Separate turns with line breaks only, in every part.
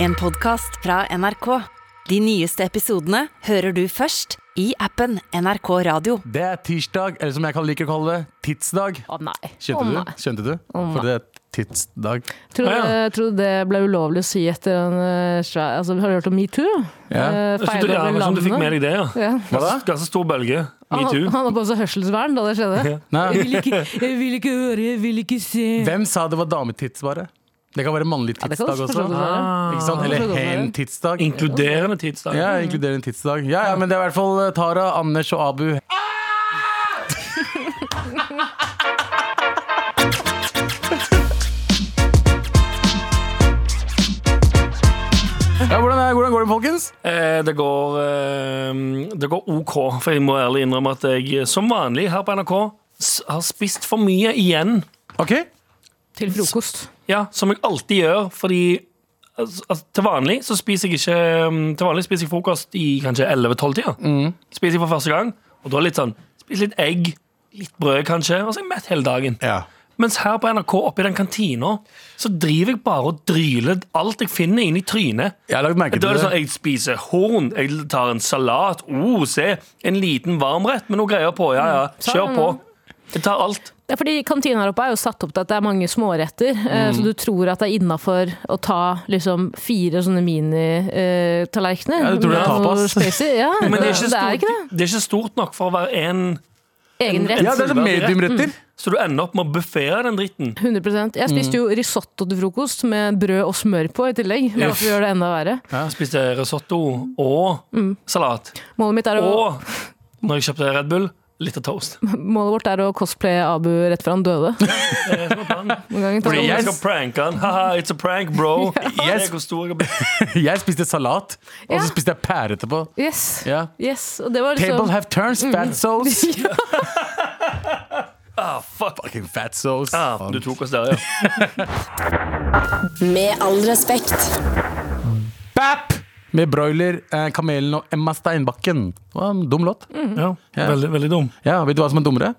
En podcast fra NRK. De nyeste episodene hører du først i appen NRK Radio.
Det er tirsdag, eller som jeg kan like å kalle det, tidsdag.
Å nei.
Skjønte
Å,
du?
nei.
Skjønte du? For det er tidsdag.
Tror,
Å,
du- tror du det ble ulovlig å si etter en eh, svær altså, Har du hørt om metoo?
Ja.
Eh,
Jeg synes
feil
du, ja,
over
kanskje du fikk med
landet.
deg det, ja.
Ja.
Hva da?
Ganske, ganske stor bølge.
Han,
Metoo.
han hadde på seg hørselsvern da det skjedde. Jeg
Nei.
vil, ikke, jeg vil ikke høre, jeg vil ikke se
Hvem sa det var dametids, bare? Det kan være mannlig
det kan
tidsdag
også
også.
forstås være.
Ah.
Ikke sant?
det
Eller
kan være.
hen tidsdag.
Inkluderende tidsdag.
Ja, inkluderende tidsdag. Ja, ja, men det er i hvert fall eh, Tara, Anders og Abu. Ja, hvordan, er, hvordan går det, folkens?
Eh, Det går, eh, det går OK, for jeg må ærlig innrømme at jeg eh, som vanlig her på NRK s- har spist for mye igjen.
Ok?
til frokost.
Ja, som jeg alltid gjør, fordi altså, altså, til vanlig så spiser jeg ikke mm, Til vanlig spiser jeg frokost i kanskje 11-12-tida.
Mm.
Spiser jeg for første gang, og da litt sånn Spiser litt egg, litt brød kanskje, og så er jeg mett hele dagen.
Ja.
Mens her på NRK oppe i den kantina Så driver jeg bare og dryler alt jeg finner inn i trynet
Jeg har lagt merke til
Da er det
det.
sånn, jeg spiser horn Jeg tar en salat oh, se, En liten varmrett med noen greier på Ja, Mm. Sånn, ja, kjør på Jeg tar alt
Ja, fordi Kantina her oppe er jo satt opp til at det er mange småretter,
Mm.
eh, så du tror at det er innafor å ta liksom fire sånne eh, mini-tallerkener.
Ja, du tror det er tapas.
Altså, Ja,
Men det er, ikke
det er
stort,
ikke det.
det er ikke stort nok for å være en
Egen rett. Mm.
Ja, det er sånn mediumretter.
Så du ender opp med å buffere den dritten
100 Jeg spiste
Mm.
jo risotto til frokost med brød og smør på i tillegg. Bare for å gjøre det enda verre.
Jeg spiste risotto og salat
Målet, mitt er å,
Mm. Og når jeg kjøpte Red Bull Litt av toast
målet vårt er å cosplaye Abu rett før han døde. Noen ganger tar
Fordi
det-
jeg skal pranke han Haha, it's a prank, bro Jeg er hvor stor jeg har blitt
Jeg spiste salat, og så
Ja.
spiste jeg pære etterpå.
Yes.
Ja.
yes. Og det var
Table
liksom
have turns, fat sauce.
Ah, fuck
Fucking fat sauce.
Ah, du tok oss der, ja.
Med all respekt.
Bap! Med Broiler, eh, Kamelen og Emma Steinbakken. Det var en dum låt.
ja. Veldig, veldig dum.
Ja, Vet du hva som er dummere?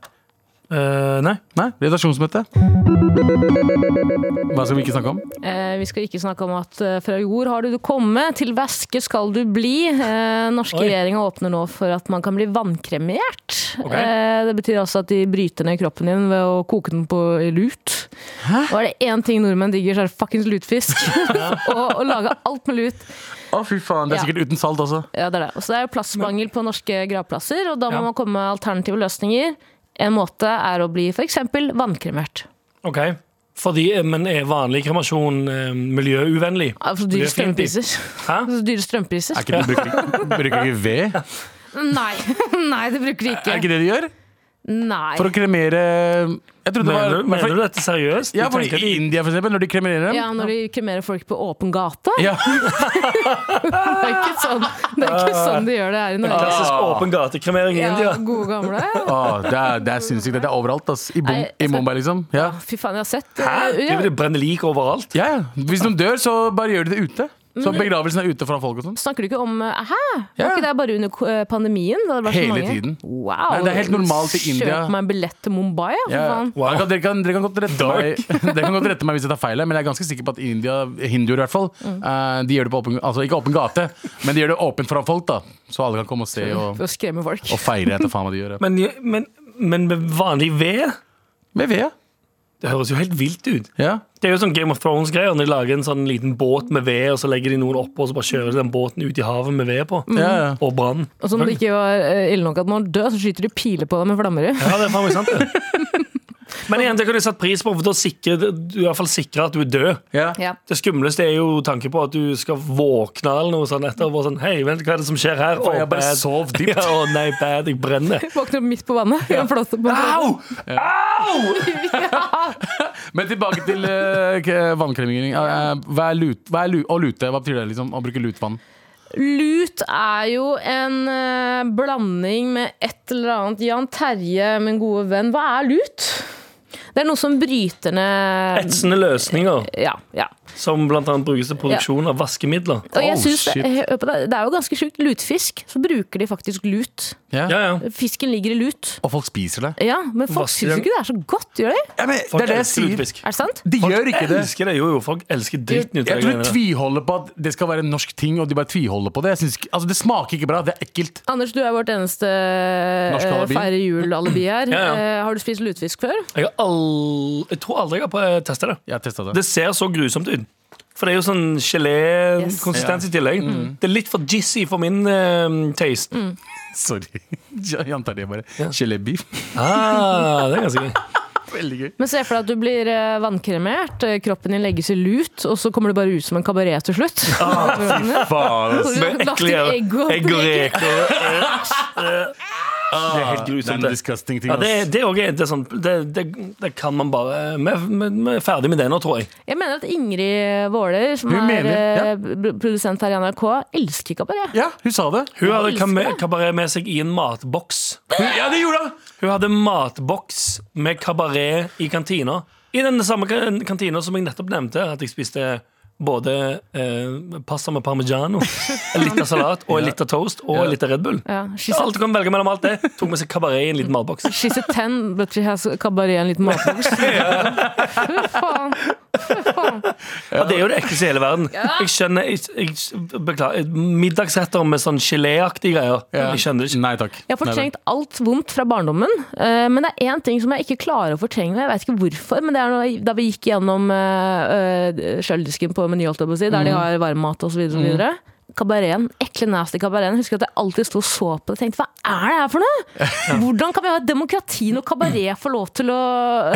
Eh, nei.
Nei, Redaksjonsmøte. Hva skal vi ikke snakke om?
eh, Vi skal ikke snakke om at eh, fra jord har du du komme, til væske skal du bli. Eh, norske
Oi.
regjeringa åpner nå for at man kan bli vannkremert.
Ok.
Eh, det betyr altså at de bryter ned kroppen din ved å koke den på i lut. Og er det én ting nordmenn digger, så er det fuckings lutfisk. og å lage alt med lut.
Å fy faen, Det er
Ja.
sikkert uten salt også.
Ja, det er det. Og så det er jo plassmangel på norske gravplasser, og da må
Ja.
man komme med alternative løsninger. En måte er å bli f.eks. vannkremert.
Ok. Fordi, eh, men er vanlig kremasjon eh, miljøuvennlig?
Altså
Det
dyre
er fint, det.
strømpriser.
Hæ?
Altså, dyre strømpriser.
Er ikke, du bruker, bruker ikke ved?
Nei. Nei, det bruker de
Er
ikke.
ikke det de gjør?
Nei.
For å kremere Jeg trodde det var
Mener, du- mener du dette seriøst?
Ja,
Du
for
tenker
I
at-
India, for eksempel, når de kremerer dem.
Ja, når de kremerer folk på åpen gate.
Ja.
Det er ikke sånn, det er ikke sånn de gjør det her i Norge.
Klassisk åpen gatekremering i
Ja,
India.
gode gamle.
Å, det er, det er sinnssykt. Det er overalt. ass. I, bom,
Nei,
I
jeg skal-
Mumbai, liksom. Ja.
Fy faen, jeg har sett det.
Hæ? De
Ja.
vil brenne lik overalt.
Ja, ja. Hvis noen dør, så bare gjør de det ute. Så begravelsen er ute foran folk og sånn.
Snakker du ikke om eh, Hæ?
Ja.
Var ikke det bare under eh, pandemien? Da det var så
Hele
mange?
tiden.
Wow.
Nei, det er helt normalt i India.
Kjøp meg en billett til Mumbai, ja, for
Ja,
faen.
Dere, kan, dere, kan, dere kan godt rette meg Dere kan godt rette meg hvis jeg tar feil, her, men jeg er ganske sikker på at India, hinduer i hvert fall,
Mm.
eh, de gjør det på åpen Altså ikke åpen gate, men de gjør det åpent foran folk, da. Så alle kan komme og se og,
For å skremme folk.
og feire etter faen hva de gjør. ja.
Men, men, men med vanlig ved?
Med ved,
Det høres jo helt vilt ut.
ja.
Det er jo sånn Game of Thrones-greier. Når de lager en sånn liten båt med ved, og så legger de noen oppå, og så bare kjører de den båten ut i havet med ved på.
ja, ja.
Mm.
Og brann.
Og som om det ikke var eh, ille nok at når han dør, så skyter de piler på deg med flammer i.
Ja, det er faen meg sant, det. Men igjen, det kunne jeg satt pris på, for da sikrer du i hvert fall sikrer at du er død.
Ja.
Ja.
Det skumleste er jo tanken på at du skal våkne eller noe sånn etter og bare sånn Hei, vent, hva er det som skjer her?
For
Å,
jeg bare
bad.
sov dypt.
Ja, å nei, bad, jeg brenner.
Våkner opp midt på vannet. i en flåte på
Au!
Men tilbake til eh, k- vannkremering. Eh, hva er lut, hva er lu, å lute? Hva betyr det, liksom? Å bruke lutvann?
Lut er jo en eh, blanding med et eller annet Jan Terje, min gode venn. Hva er lut? Det er noe som bryter ned
Etsende løsninger
ja, ja.
som bl.a. brukes til produksjon av vaskemidler.
Og jeg
Oh,
synes,
shit.
hør på det, det er jo ganske sjukt. Lutfisk, så bruker de faktisk lut.
Ja.
Ja, ja.
Fisken ligger i lut.
Og folk spiser det.
Ja, men folk
Vasker
syns
den.
ikke det er så godt, gjør de?
Ja, men,
Folk
det er det jeg
elsker
sier.
lutefisk.
Er det sant?
De
Folk
gjør ikke det.
elsker det. Jo, jo, folk elsker dritten ut av
Jeg
de
tror
greiene
de
der.
tviholder på at det skal være en norsk ting, og de bare tviholder på det. Jeg synes ikke, altså, det smaker ikke bra. Det er ekkelt.
Anders, du er vårt eneste
Norsk
eh,
alibi.
feire jul-alibi her.
Ja, ja.
Eh, Har du spist lutefisk før?
Jeg, har all... jeg tror aldri jeg har på- testet det.
Jeg har testet det.
Det ser så grusomt ut. For det er jo sånn gelé-konsistens i tillegg. Det er litt for jizzy for min eh, taste.
Mm.
Sorry. Jeg antar det bare. Gelébeef.
Ah, det er ganske gøy.
Veldig gøy.
Men se for deg at du blir eh, vannkremet, eh, kroppen din legges i lut, og så kommer du bare ut som en kabaret til slutt.
Faen.
Hvor du har lagt inn egg og
egg og
reker.
reker. Ah, Det er helt grusomt.
Det er en
Det.
disgusting ting.
Ja, det,
ass.
det, er også, det, er sånn, det, det, det kan man bare Vi vi- vi er ferdig med det nå, tror jeg.
Jeg mener at Ingrid Våler, som
Hun
er
mener, ja.
eh, pr- produsent her i NRK, elsker kabaret.
Ja, hun sa det.
Hun hadde
elsker
kam-
det.
kabaret med seg i en matboks.
Hun, ja, det gjorde hun!
Hun hadde matboks med kabaret i kantina. I den samme ka- kantina som jeg nettopp nevnte, at jeg spiste både eh, pasta med parmigiano, en liter salat og en liter toast og en liter Red Bull.
Ja, she's, a,
Alt du kan velge mellom alt det. Tok med seg kabaret i en liten matboks.
she's a ten, but she has kabaret i en liten matboks. Fy faen. Fy faen.
Ja, det er jo det ekleste i hele verden. Jeg skjønner jeg, jeg, Beklager. Middagsretter med sånn geléaktige greier.
Ja.
Jeg skjønner det ikke.
Nei takk.
Jeg har fortrengt alt vondt fra barndommen, eh, men det er én ting som jeg ikke klarer å fortrenge. og Jeg vet ikke hvorfor, men det er når, da vi gikk gjennom eh, eh, kjøledisken på Meny, holdt jeg på å si,
Mhm.
der de har varmmat osv. Kabareten. Ekle, nasty kabareten. Jeg Husker at jeg alltid sto og så på det og tenkte hva er det her for noe? Hvordan kan vi ha et demokrati når kabaret får lov til å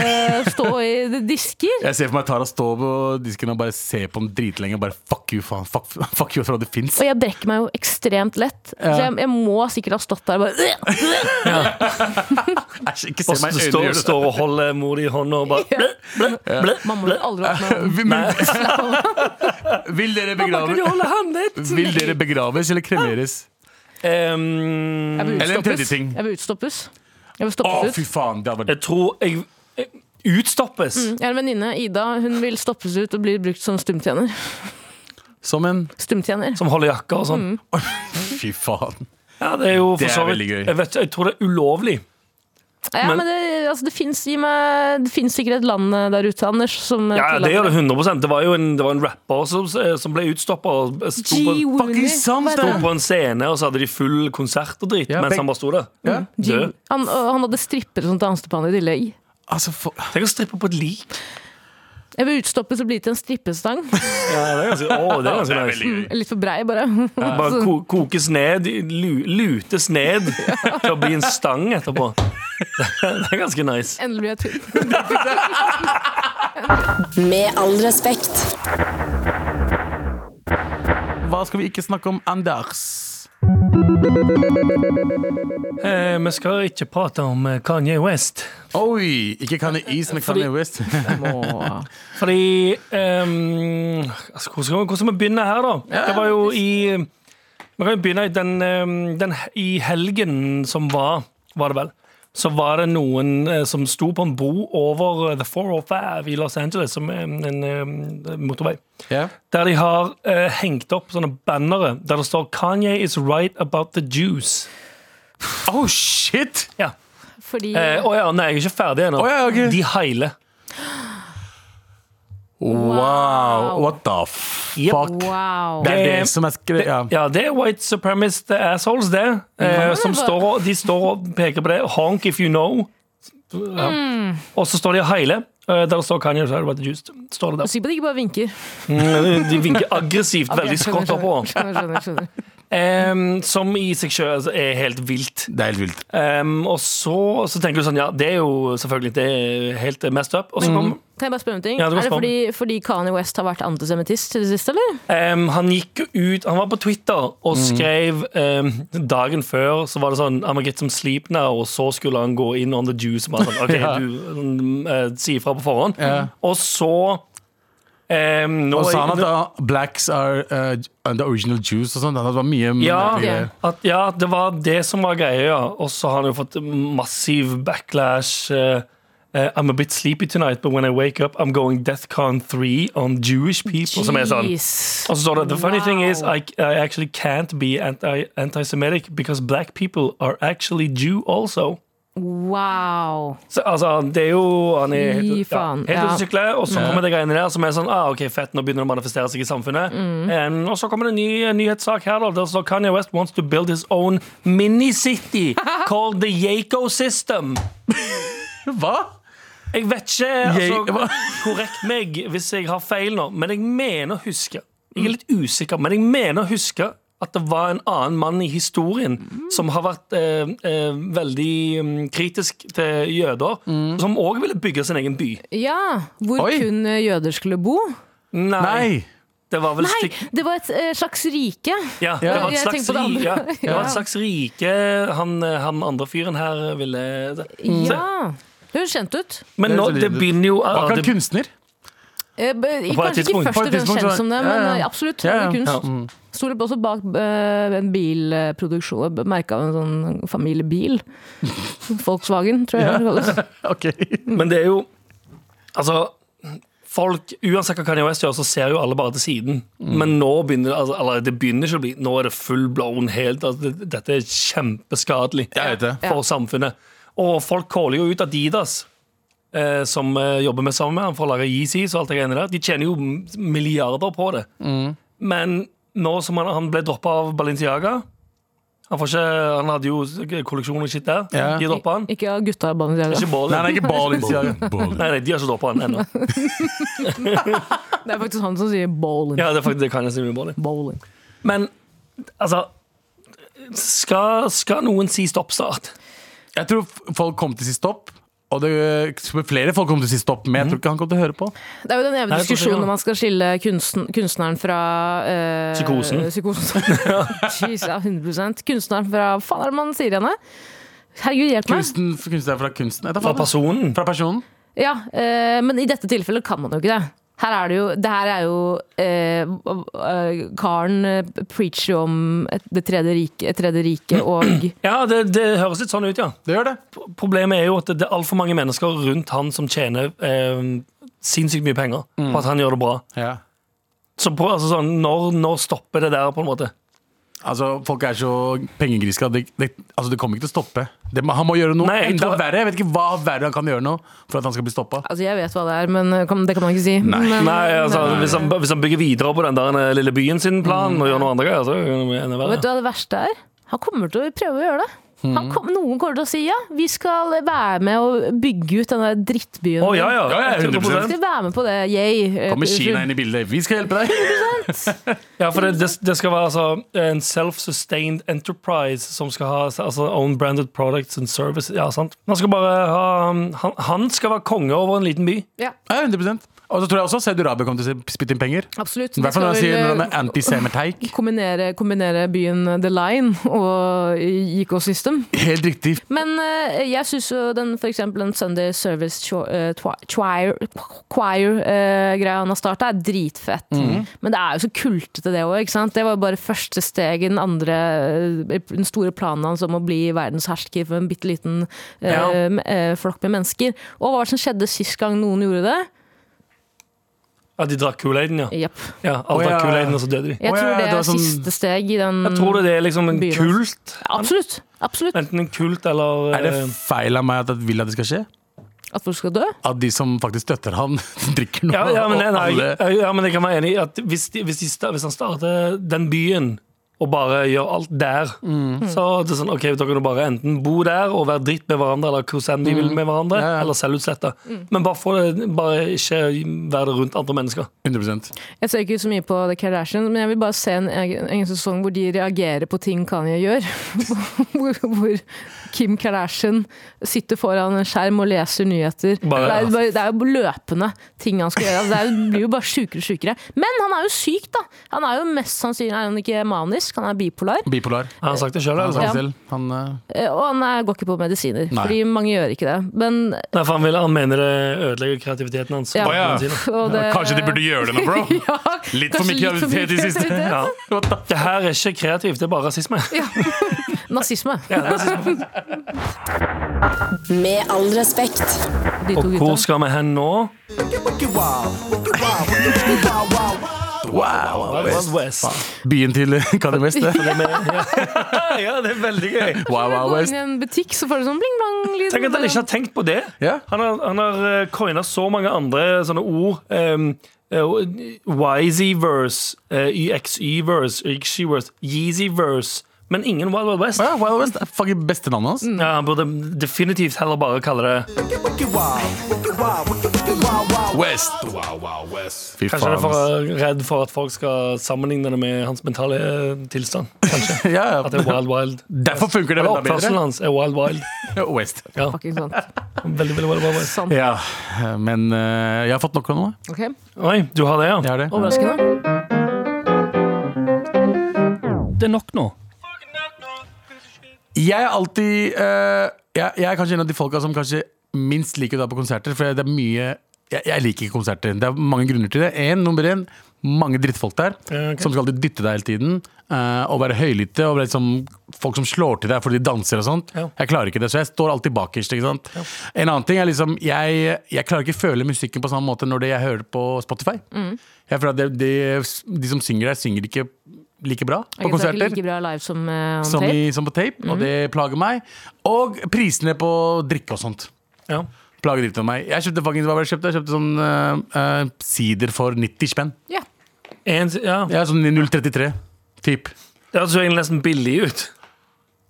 eh, stå i disker?
Jeg ser for meg Tara stå på disken og bare se på den dritlenge og bare fuck you, faen. Fuck, fuck you for at det fins.
Og jeg brekker meg jo ekstremt lett, så jeg, jeg må sikkert ha stått der og bare
Æsj, ikke se
Og så
meg i øynene
står,
gjør det.
står og holder mor i hånda og bare ble, ble, ble,
Mamma
ble.
vil aldri ha hatt meg.
Vi- Men, vil dere begrave
holde hånden litt?
Vil dere begraves eller kremeres?
Jeg
Mm.
vil
Eller en tredje
utstoppes.
ting.
Jeg vil utstoppes. Jeg vil
Å,
stoppes ut.
fy faen! Det hadde vært
jeg tror jeg, jeg Utstoppes!
Jeg har en venninne, Ida. Hun vil stoppes ut og bli brukt som stumtjener.
Som en
Stumtjener.
Som holder jakka og sånn.
Fy faen.
Ja, det er jo
Det er
for så vidt
veldig gøy.
jeg, vet, jeg tror det er ulovlig.
Ja,
Men-
men det, altså, det fins sikkert et land eh, der ute, Anders, som eh,
Ja, Det gjør det 100 Det var jo en, det var en rapper som, som ble utstoppa. Sto, på-
Fucking sant,
sto
det!
på en scene, og så hadde de full konsert og dritt
Ja,
mens
begge-
han bare sto der.
Ja.
Død.
Han, og han hadde strippere som danset på han i tillegg.
Altså, for,
Tenk å strippe på et lik.
Jeg vil utstoppes og bli til en strippestang.
Ja, det er ganske, å, det er ganske nice.
Litt for brei, bare.
Bare ko kokes ned, lu lutes ned til å bli en stang etterpå. Det er ganske nice.
Endelig blir jeg tynn.
Med all respekt.
Mm. hva skal vi ikke snakke om, Anders?
Eh, vi skal ikke prate om eh, Kanye West.
Oi! Ikke Kanye East, men Kanye West.
Fordi ehm, altså, hvor, skal, hvor skal vi begynne her, da? Det var jo i Vi kan jo begynne i den, ehm, den I helgen som var, var det vel, så var det noen eh, som sto på en bro over eh, The 405 i Los Angeles, som er en, en eh, motorvei.
Ja.
Der de har eh, hengt opp sånne bannere der det står 'Kanye is right about the Jews'.
Oh, shit!
Ja.
Fordi
Eh, å ja, nei, jeg er ikke ferdig ennå.
Å ja, ok.
De heiler.
Wow! What the fuck?
Wow.
Det er det som er skrevet ja.
Ja, det er white supremacist assholes, det. Eh, som
hva-
står, og- de står og peker på det. Honk if you know. Ja. Og så står de og heiler. Eh, der det står Kanye West about the Jews. Står det der.
Sikker på at de ikke bare vinker.
Mm, De vinker aggressivt, veldig
Skjønner,
skrått oppover.
skjønner, skjønner, skjønner.
Eh, som i seg selv altså, er helt vilt.
Det er helt vilt.
Ehm, og så, så tenker du sånn, ja, det er jo selvfølgelig det er helt messed up. Og så kom,
Kan jeg bare spørre om en ting?
Mm. Ja, du
er
må
det
spørre om-
fordi, fordi Kanye West har vært antisemittist til det siste, eller?
ehm, han gikk jo ut, han var på Twitter og
Mm.
skrev ehm, dagen før, så var det sånn, I'm gonna get some sleep now, og så skulle han gå inn on the juice. Bare sånn, ok,
Ja.
du mm, eh, sier fra på forhånd.
Ja.
Og så... ehm, nå,
Og sa han at uh, blacks are uh, the original Jews og sånn. Det var mye
Ja,
mye greier.
at, ja, det var det som var greia, ja. Og så har han jo fått massiv backlash. eh, eh, I'm a bit sleepy tonight, but when I wake up, I'm going DeathCon 3 on Jewish people. Som er sånn.
Jeez.
Og så står det The funny thing is
Wow.
I, I actually can't be anti, anti-Semitic because black people are actually Jew also.
Wow.
Så, altså, det er jo han er helt,
Fy
ja,
faen,
helt
ja.
ute å sykle, og så kommer det greiene der som er sånn ah, OK, fett, nå begynner det å manifestere seg i samfunnet.
Mm.
En- og så kommer det en ny en nyhetssak her, da. Der står Kanye West wants to build his own mini-city called the Yako System.
Hva?
Jeg vet ikke.
Jeg-
Altså,
hva?
korrekt meg hvis jeg har feil nå, men jeg mener å huske Jeg er litt usikker, men jeg mener å huske at det var en annen mann i historien som har vært eh, eh, veldig mm, kritisk til jøder,
Mm.
som òg ville bygge sin egen by.
Ja, hvor
Oi.
kun eh, jøder skulle bo.
Nei,
Nei!
det var vel
Nei,
stikk...
det var et eh, slags rike.
Ja, det var et
Jeg tenker
slags,
på det
ri- ja,
andre.
det var
Ja.
et slags rike han, eh, han andre fyren her ville Så,
Ja. Det høres kjent ut.
Men nå, det begynner jo
Var ikke
det-
han kunstner?
Eh, b- Kanskje ikke
tidspunkt-
først
på et
og fremst
tidspunkt så-
kjent som det,
ja,
men
ja.
eh, absolutt
Ja, ja.
Ja. mm.
kunst. Sto litt også bak eh, en bilproduksjon, merka av en sånn familiebil. Volkswagen, tror jeg det kalles.
Ok.
Men det er jo Altså, folk Uansett hva Kanye West gjør, så ser jo alle bare til siden.
Mm.
Men nå begynner det altså, eller det begynner ikke å bli Nå er det full blown helt altså, det- Dette er kjempeskadelig
Jeg vet det.
for samfunnet. Og folk caller jo ut Adidas. eh, Som eh, jobber med sammen med han for å lage Yeezys og alt det greiene der. De tjener jo m- milliarder på det.
Mm.
Men nå som han, han ble droppa av Balenciaga Han, får ikke, han hadde jo kolleksjon og shit der.
Ja.
De droppa han.
Ikke av gutta i Balenciaga.
Ikke Bali.
Nei, nei, ikke Balenciaga.
Nei, nei, de har ikke droppa han ennå.
Det er faktisk han som sier bowling.
Ja, det, er faktisk, det kan jeg si mye om det.
Bowling.
Men altså skal, skal noen si stopp snart?
Jeg tror f- folk kom til sitt stopp. Og det, flere folk kom til sitt stopp, men jeg
Mhm.
tror ikke han kom til å høre på.
Det er jo den evige
Nei, jeg tror ikke
diskusjonen
det.
om man skal skille kunsten, kunstneren fra eh,
Psykosen.
psykosen. Jeez, ja, 100 Kunstneren fra Hva faen er det man sier henne? Herregud, hjelp meg.
Kunsten, kunstner fra kunsten. Jeg tar
Fra
faen.
personen?
Fra personen.
Ja, eh, men i dette tilfellet kan man jo ikke det. Her er det jo Det her er jo eh, eh, Karen eh, preacher jo om et, Det tredje riket tredje rike og
Ja, det, det høres litt sånn ut, ja.
Det gjør det.
P- Problemet er jo at det er altfor mange mennesker rundt han som tjener eh, sinnssykt mye penger på at han gjør det bra.
Ja.
Så på, altså, sånn, når, når stopper det der, på en måte?
Altså, Folk er så pengegriske at det, det, altså, det kommer ikke til å stoppe. Det, må- han må gjøre noe
Nei, jeg
enda
tror-
verre. Jeg vet ikke hva verre han kan gjøre nå for at han skal bli stoppa.
Altså, jeg vet hva det er, men eh, kan, det kan man ikke si. Men,
Nei, altså, hvis, han, hvis han bygger videre på den der eh, lille byen sin plan og gjør noe andre greier, så er det enda verre.
Vet du hva det verste er? Han kommer til å prøve å gjøre det. Han
Mhm.
kom, noen kommer til å si ja, vi skal være med og bygge ut den der drittbyen.
Å, ja, ja.
Ja, ja, 100%.
Vi skal være med på det, yay. Eh,
Kommer Kina inn i bildet? Vi skal hjelpe deg!
Ja, for det, det, det skal være altså, en self-sustained enterprise som skal ha altså, own branded products and services. Ja, sant. Han skal bare ha um, han, han skal være konge over en liten by.
Ja,
Ja, 100 Og så tror jeg også Saudi Arabia kommer til å spytte inn penger.
absolutt.
I
Vi
hvert fall når han sier
eh,
når
vel, eh,
han er antisemitteik.
kombinere, kombinere byen The Line og Ecosystem.
Helt riktig.
Men eh, jeg syns jo den for eksempel den Sunday Service cho- eh, twi- Choir Choir-greia han har starta, er dritfett.
Mm.
Mm.
Men det er jo så kultete, det òg. Det var jo bare første steg i den andre eh, den store planen hans om å bli verdenshersker for en bitte liten eh,
Ja.
m- eh, flokk med mennesker. Og hva var det som skjedde sist gang noen gjorde det?
Ja, de drakk Kool-Aiden, ja.
Jepp.
ja alle
Å, ja.
drakk Kool-Aiden, og så døde de.
Jeg
Å,
tror
ja,
det
det var
er
sånn-
siste steg i den
Jeg tror det er liksom en
Byen.
kult.
Absolutt. Absolutt.
Enten en kult eller
Er det
eh,
feil av meg at jeg vil at det skal skje?
At folk skal dø.
At de som faktisk støtter han, drikker noe?
ja, ja, men, nei,
og
nei,
alle-
ja, men jeg kan være enig i at hvis, de, hvis, de, sta- hvis han starter den byen og bare gjør alt der, så er det sånn, ok, da kan du bare enten bo der og være dritt med hverandre, eller hvordan de vil med hverandre,
Ja, ja.
eller selvutslette. Men bare, få det, bare ikke være det rundt andre mennesker.
100
Jeg ser ikke så mye på The Kardashians, men jeg vil bare se en egen, egen sesong hvor de reagerer på ting Kanye gjør. hvor, hvor Kim Kardashian sitter foran en skjerm og leser nyheter. det,
Bare-
er, jo bare, det er jo løpende ting han skal gjøre. Altså, det er, jo- blir jo bare sjukere og sjukere. Men han er jo syk, da! Han er jo mest sannsynlig er han ikke manisk, han er bipolar.
Bipolar.
Har han sagt det sjøl?
Han sa
Altså.
det selv. Han, eh,
Eh, Og han er, går ikke på medisiner,
Nei.
fordi mange gjør ikke det. Men,
Nei, for han, vil, han mener det ødelegger kreativiteten hans.
Ja.
Å,
Hva
ja.
han sier.
og det,
Kanskje de burde gjøre det nå, bro?
ja,
Litt for mye
kanskje litt for mye
kreativitet i siste.
kreativitet.
Ja. Det her er ikke kreativt, det er bare rasisme.
Nazisme.
Ja, det synes jeg.
Med all respekt.
De to
Og hvor
gutta.
skal vi hen nå? Wild Wild West.
Byen til Kanye West. det.
Ja, det er veldig gøy.
Wow,
Når du
wow,
går
West.
inn i en butikk, så får du sånn bling-blang-lyd.
Tenk at han ikke har tenkt på det. liksom
Ja.
Han har, han har eh, coina så mange andre sånne ord. Um, eh, YZ-verse, YXY-verse, YXY-verse, Yeezy-verse. Men ingen Wild Wild West.
Ja, Wild West er fucking beste navnet hans.
Ja, han burde definitivt heller bare kalle det
Mm.
West. Fy
Kanskje han er for
ass.
eh, redd for at folk skal sammenligne det med hans mentale eh, tilstand. Kanskje.
Ja,
eh, At det er
ja.
Wild Wild.
Derfor funker det
Eller
enda
oppførselen
bedre.
hans er Wild Wild.
West.
Ja,
Fucking sant.
veldig, veldig, veldig, veldig.
Sant.
Ja, men eh, jeg har fått nok av noe.
Ok,
Oi, du har det, ja?
Jeg har det.
Overraskende.
Det er nok nå.
Jeg er alltid eh, jeg, jeg er kanskje en av de folka som kanskje minst liker å dra på konserter. For det er mye jeg, jeg liker ikke konserter. Det er mange grunner til det. En, nummer én, mange drittfolk der
Ja, ok.
som skal alltid dytte deg hele tiden. eh, og være høylytte. Og være liksom, folk som slår til deg fordi de danser og sånt.
Ja.
Jeg klarer ikke det, så jeg står alltid bakerst. Ikke sant? En annen ting er liksom jeg, jeg klarer ikke føle musikken på samme måte når det jeg hører på Spotify. Jeg føler at det, det, De som synger der, synger ikke like bra på
Ok, så det er
konserter
ikke like bra live som eh, on
som,
tape. Mhm.
i, som på tape, og det plager meg. Og prisene på drikke og sånt.
Ja.
Plager dritt av meg. Jeg kjøpte faktisk, hva var det jeg kjøpte? Jeg kjøpte sånn eh, eh, sider for 90 spenn.
Ja.
En, ja.
Jeg er sånn i 0,33 typ.
Det så egentlig nesten billig ut.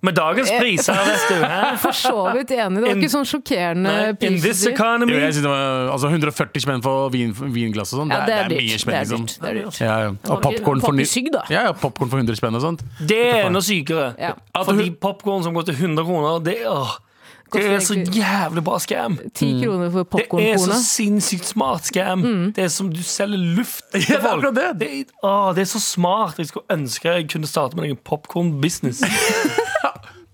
Med dagens
Eh.
priser, vet du. Hæ?
For så vidt enig. Det var
In-
ikke sånn sjokkerende
Nei, In this
prisutstyr.
Jo,
economy.
jeg synes det var altså 140 spenn for vin, vinglass og sånn.
Ja,
det, er- det er mye
dyrt.
spenn,
Det er
liksom.
dyrt. Det er dyrt.
Ja, ja. Og popkorn for, ni-
Poppysygg, da.
ja, ja, popcorn for 100 spenn og sånt.
Det er enda sykere.
Ja.
At de popkorn som går til 100 kroner, det, åh, det
Koster
er så
egentlig-
jævlig bra scam.
Ti kroner for
Det er så
popkornkornet.
sinnssykt smart scam.
Mm.
Det er som du selger luft til
Ja, det er
folk.
akkurat det.
er- åh, det er så smart. Jeg skulle ønske jeg kunne starte med en popkorn-business.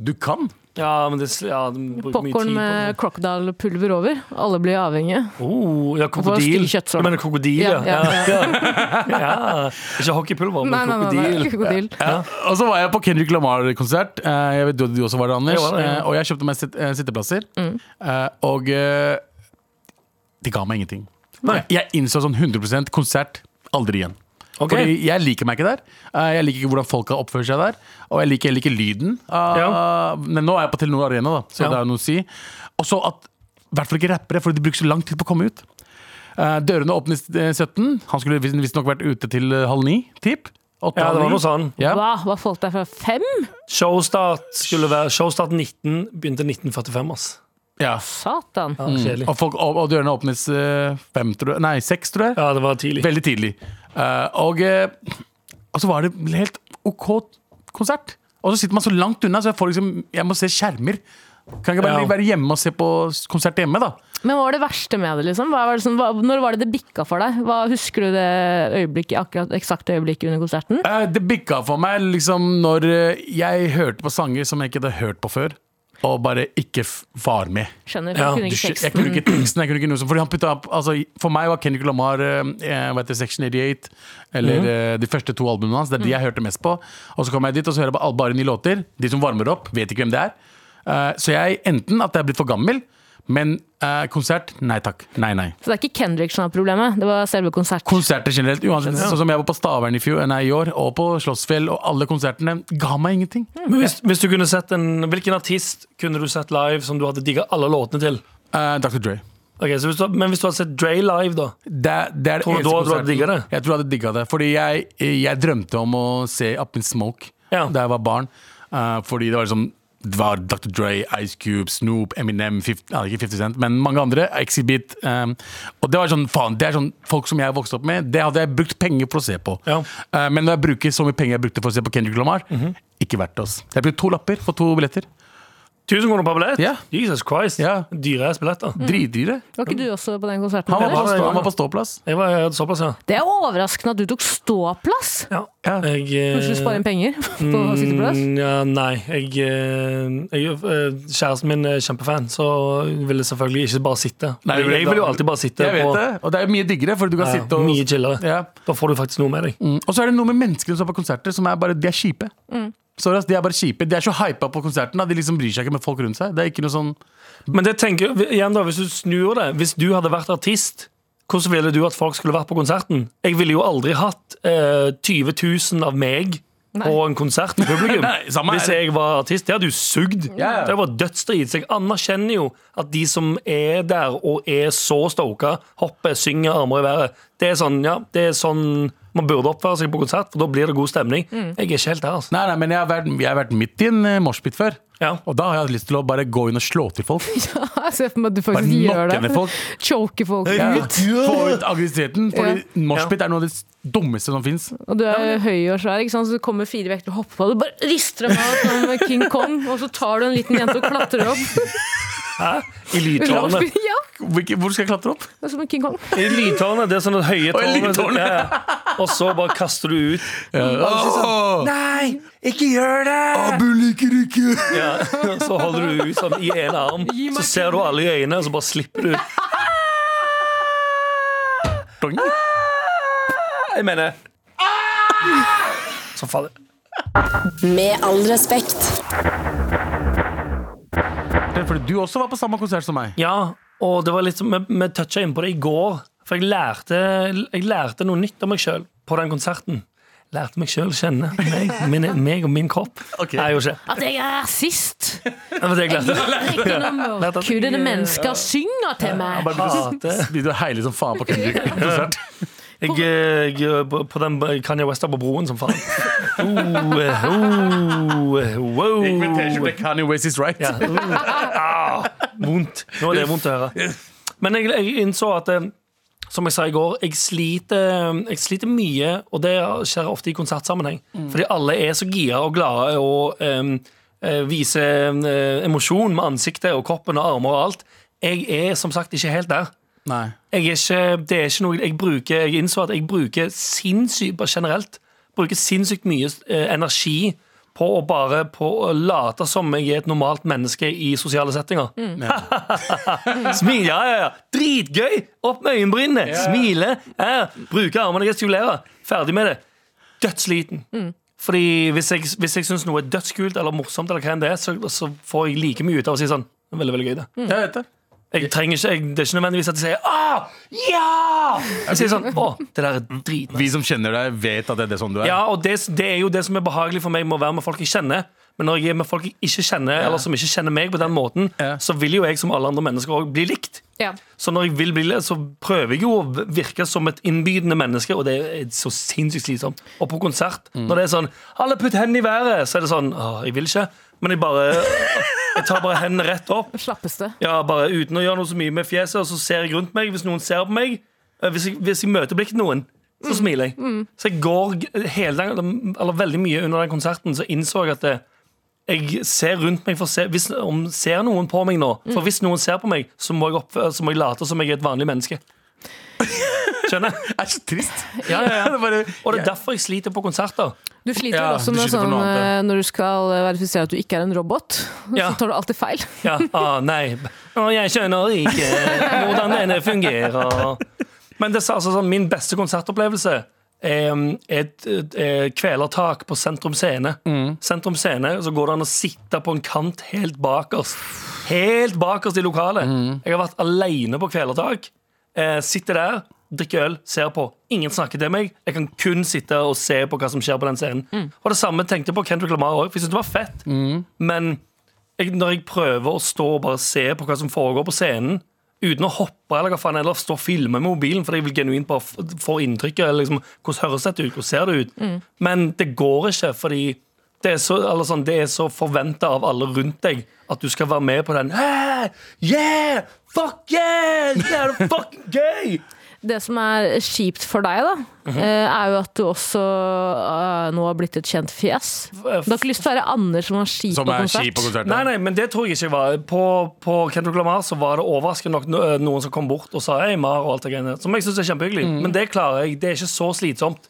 Du kan!
Ja, men det ja, de bruker mye
Popkorn
tid på
med
det.
crocodile-pulver over. Alle blir avhengige.
Oh, ja,
stygg
krokodil.
kjøttfrø.
Du mener krokodil, ja.
Ja,
ja,
ja,
ja. Ikke hockeypulver, men
Nei, nei, nei,
krokodil.
nei, krokodil.
Og så var jeg på Kendrick Lamar-konsert. Eh, Jeg vet du, du også var der, Anders.
Jeg var der, ja.
Eh, Og jeg kjøpte meg sitt- eh, sitteplasser.
Mm.
Eh, Og eh, det ga meg ingenting.
Nei.
Jeg innså sånn 100 konsert aldri igjen.
Ok.
Fordi jeg liker meg ikke der. Eh, Jeg liker ikke hvordan folka oppfører seg der. Og jeg liker heller ikke lyden. av-
Ja.
Men nå er jeg på Telenor Arena, da, så
Ja.
det er jo noe å si. Og så at i hvert fall ikke rappere, for de bruker så lang tid på å komme ut. Eh, Dørene åpnes eh, 17. Han skulle visstnok vært ute til eh, halv ni. Typ. Åtte,
Ja,
halv
det var
ni.
noe sånn.
Ja.
Hva? Hva folk der fra fem?
Showstart skulle være Showstart 19 begynte 1945, ass.
Ja.
Satan.
Ja, kjedelig.
Og, folk, og, og dørene åpnes eh, fem, tror jeg. Nei, seks, tror jeg.
Ja, det var tidlig.
Veldig tidlig. Eh, og, eh, og så var det en helt OK konsert. Og så sitter man så langt unna, så jeg, får liksom, jeg må se skjermer. Kan ikke bare
Ja.
være hjemme og se på konsert hjemme, da?
Men hva var det verste med det, liksom? Hva var det som, hva, når var det det bikka for deg? Hva Husker du det øyeblikket, akkurat eksakte øyeblikket under konserten?
Eh, det bikka for meg liksom når eh, jeg hørte på sanger som jeg ikke hadde hørt på før, og bare ikke f var med.
Skjønner,
Ja,
jeg kunne
Du
ikke
skjø- Jeg
teksten.
kunne ikke teksten, jeg kunne ikke noe som Fordi han putta opp altså, For meg var Kendrick Lamar eh, eh, hva heter det, Section 88
Mhm.
Eller eh, de første to albumene hans Det er de jeg hørte mest på Og så kom jeg dit og så hører jeg bare, bare ni låter De som varmer opp, vet ikke hvem det er Eh, Så jeg, enten at jeg er blitt for gammel Men eh, konsert, nei takk Nei, nei
Så det er ikke Kendrick som er problemet, det var selve konserten.
Konserter generelt, uansett Sånn som jeg var på Stavern i, fjor, nei, i år Og på Slåssfjell, og alle konsertene Ga meg ingenting
Men hvis, hvis du kunne sett en Hvilken artist kunne du sett live som du hadde digga alle låtene til?
Eh, Dr. Dre
Ok, så hvis du, men hvis du hadde sett Dre live, da?
det, det er det
Tror
eneste
du da du hadde
konserten-
digget det?
Jeg tror jeg hadde digga det. Fordi jeg, jeg drømte om å se Up in Smoke
Ja.
da jeg var barn. Eh, fordi det var liksom det var Dr. Dre, Ice Cube, Snoop, Eminem 50, nei, ikke 50 Cent, men mange andre. Exhibit. eh, og det var sånn, faen, det er sånn folk som jeg vokste opp med, det hadde jeg brukt penger for å se på.
Ja.
Eh, men når jeg bruker så mye penger jeg brukte for å se på Kendrick Lamar, ikke verdt det. ass. Jeg brukte to lapper for to billetter.
1000 kroner per billett?
Ja.
Jesus Christ.
Ja. Mm.
Dyre ass billetter.
Dritdyre.
Var ikke du også på den konserten?
Han, var på
Peder?
Mm.
stå-
det var-
han var på ståplass.
Jeg var jeg hadde såpass, ja.
Det er overraskende at du tok ståplass!
ja.
Ja.
Jeg, eh,
Kanskje du sparer inn penger på sitteplass?
Mm, Ja, nei. Jeg, eh, jeg, eh, kjæresten min er kjempefan, så hun ville selvfølgelig ikke bare sitte.
Nei,
jeg, jeg vil jo alltid bare sitte
Jeg vet
på
det, og det er mye diggere, for du kan sitte
ja,
og
mye chillere.
ja.
Da får du faktisk noe med deg.
Mm. Og så er det noe med menneskene som er på konserter, som er bare, de er kjipe. Sorry, ass, de er bare kjipe. De er så hypa på konserten. Da. De liksom bryr seg ikke med folk rundt seg. Det er ikke noe sånn
Men det tenker, igjen da, hvis du snur det Hvis du hadde vært artist Hvordan ville du at folk skulle vært på konserten? Jeg ville jo aldri hatt eh, 20 000 av meg På en konsert med publikum
Nei, samme
Hvis
her.
jeg var artist, det hadde jo sugd
Ja.
Det var dødsdrit Så jeg anerkjenner jo at de som er der Og er så stoka Hopper, synger, armer i været Det er sånn, ja, det er sånn Man burde oppføre seg på konsert For da blir det god stemning Jeg er ikke helt der, altså
Nei, nei, men jeg har vært, jeg har vært midt i en eh, moshpit før.
Ja.
Og da har jeg hatt lyst til å bare gå inn og slå til folk.
Jeg ser for meg at du
Bare
faktisk
knokke
gjør
ned
det.
folk.
Choke folk
Ja.
ut.
Få ut aggressiviteten. Fordi moshpit er noe av det dummeste som fins.
Og du er høy og svær, ikke sant? så det kommer fire vekter og hopper på deg. Du bare rister dem av som King Kong, og så tar du en liten jente og klatrer opp.
I lydtårnet
ja,
Hvor skal jeg klatre opp?
det er som en King Kong.
I lydtårnet, det er sånn det høye tårnet.
lydtårnet.
Ja, ja. Og så bare kaster du ut. Nei, ikke gjør det!
Abu liker ikke!
Ja, så holder du ut sånn i en arm, så ser du alle i øynene, og så bare slipper du. Jeg mener Så faller
Med all respekt.
Fordi du også var på samme konsert som meg.
Ja, og det var litt som, vi, vi toucha inn på det i går. For jeg lærte, jeg lærte noe nytt om meg sjøl på den konserten. Lærte meg sjøl kjenne. Meg, min, meg og min kropp.
Ok.
Nei, jeg gjorde ikke.
At jeg er rasist!
Det var det jeg lærte.
Ikke Kudene mennesker synger til meg!
Bare begynte å, begynte å heile som faen på Kendrick-konsert.
Jeg, eh, jeg på, på den eh, Kanye West er på broen som faen. Oh, eh, oh, eh, wow.
Kanye West is right.
Ja, oh. Ah, vondt. Nå er det vondt å høre. Men jeg, jeg innså at eh, som jeg sa i går, jeg sliter, eh, jeg sliter mye, og det skjer ofte i konsertsammenheng. Fordi alle er så gira og glade og um, viser eh, emosjon med ansiktet og kroppen og armer og alt. Jeg er som sagt ikke helt der
Nei.
jeg er ikke, det er ikke noe jeg bruker Jeg innså at jeg bruker sinnssykt bare generelt Bruker sinnssykt mye eh, energi på å bare på å late som jeg er et normalt menneske i sosiale settinger. Smil, ja, ja, ja. Dritgøy! Opp med øyenbrynene! Smile! Ja, bruke armene, gestikulere. Ferdig med det. Dødsliten.
Mm.
Fordi hvis jeg, hvis jeg syns noe er dødskult eller morsomt, eller hva enn det er, så, så får jeg like mye ut av å si sånn. det er Veldig, veldig gøy, det.
Mm. Jeg vet det.
Jeg trenger ikke, jeg, Det er ikke nødvendigvis at jeg sier «Åh, ja! Jeg sier sånn Å, det der er drit.
Vi som kjenner deg, vet at det er det sånn du er.
Ja, og det, det er jo det som er behagelig for meg med å være med folk jeg kjenner. Men når jeg er med folk jeg ikke kjenner, eller som ikke kjenner meg på den måten,
Ja.
så vil jo jeg som alle andre mennesker også bli likt.
Ja.
Så når jeg vil bli likt, så prøver jeg jo å virke som et innbydende menneske, og det er så sinnssykt slitsomt. Og på konsert, når det er sånn 'Alle putt hendene i været', så er det sånn Å, jeg vil ikke. Men jeg bare Jeg tar bare hendene rett opp,
Slappeste.
ja, bare uten å gjøre noe så mye med fjeset, og så ser jeg rundt meg hvis noen ser på meg. Eh, Hvis jeg, hvis jeg møter blikket noen, så smiler jeg. Så jeg går g- hele dagen, eller veldig mye under den konserten, så innså jeg at eh, jeg ser rundt meg for å se hvis, om ser noen på meg nå. For hvis noen ser på meg, så må jeg, oppføre, så må jeg late som jeg er et vanlig menneske. Skjønner?
Det er så trist.
Ja, ja, ja.
Det er bare,
Og det er derfor jeg sliter på konserter.
Du sliter
Ja,
vel også
du
med
sliter for
sånn
noe annet,
eh, når du skal eh, verifisere at du ikke er en robot,
Ja.
så tar du alltid feil.
Ja, ah, nei Og jeg skjønner ikke hvordan denne fungerer Men det er altså sånn, min beste konsertopplevelse er et, et, et kvelertak på Sentrum Scene Sentrum Scene, så går det an å sitte på en kant helt bakerst Helt bakerst i lokalet Jeg har vært alene på kvelertak eh, Sitter der, drikker øl, ser på Ingen snakker til meg Jeg kan kun sitte og se på hva som skjer på den scenen Og det samme tenkte jeg på Kendrick Lamar også For jeg synes det var fett Men jeg, når jeg prøver å stå og bare se på hva som foregår på scenen, uten å hoppe eller hva faen, eller stå og filme med mobilen, fordi jeg vil genuint bare f- få inntrykket. eller Liksom, hvordan høres dette ut? Hvordan ser det ut? Men det går ikke, fordi det er så, eller sånn, det er så forventa av alle rundt deg at du skal være med på den. «Hey, yeah! Fuck yeah! Yeah, det er fucking gøy!
Det som er kjipt for deg, da,
Mhm.
eh, er jo at du også eh, nå har blitt et kjent fjes. Du har ikke lyst til å være Anders som var kjip på
som er
konsert.
kjip på konserten.
Nei, nei, men det tror jeg ikke jeg var. På, på Kendrick Lamar så var det overraskende nok no- eh, noen som kom bort og sa Hei, Mar, og alt det greiene. Som jeg syns er kjempehyggelig. Men det klarer jeg. Det er ikke så slitsomt.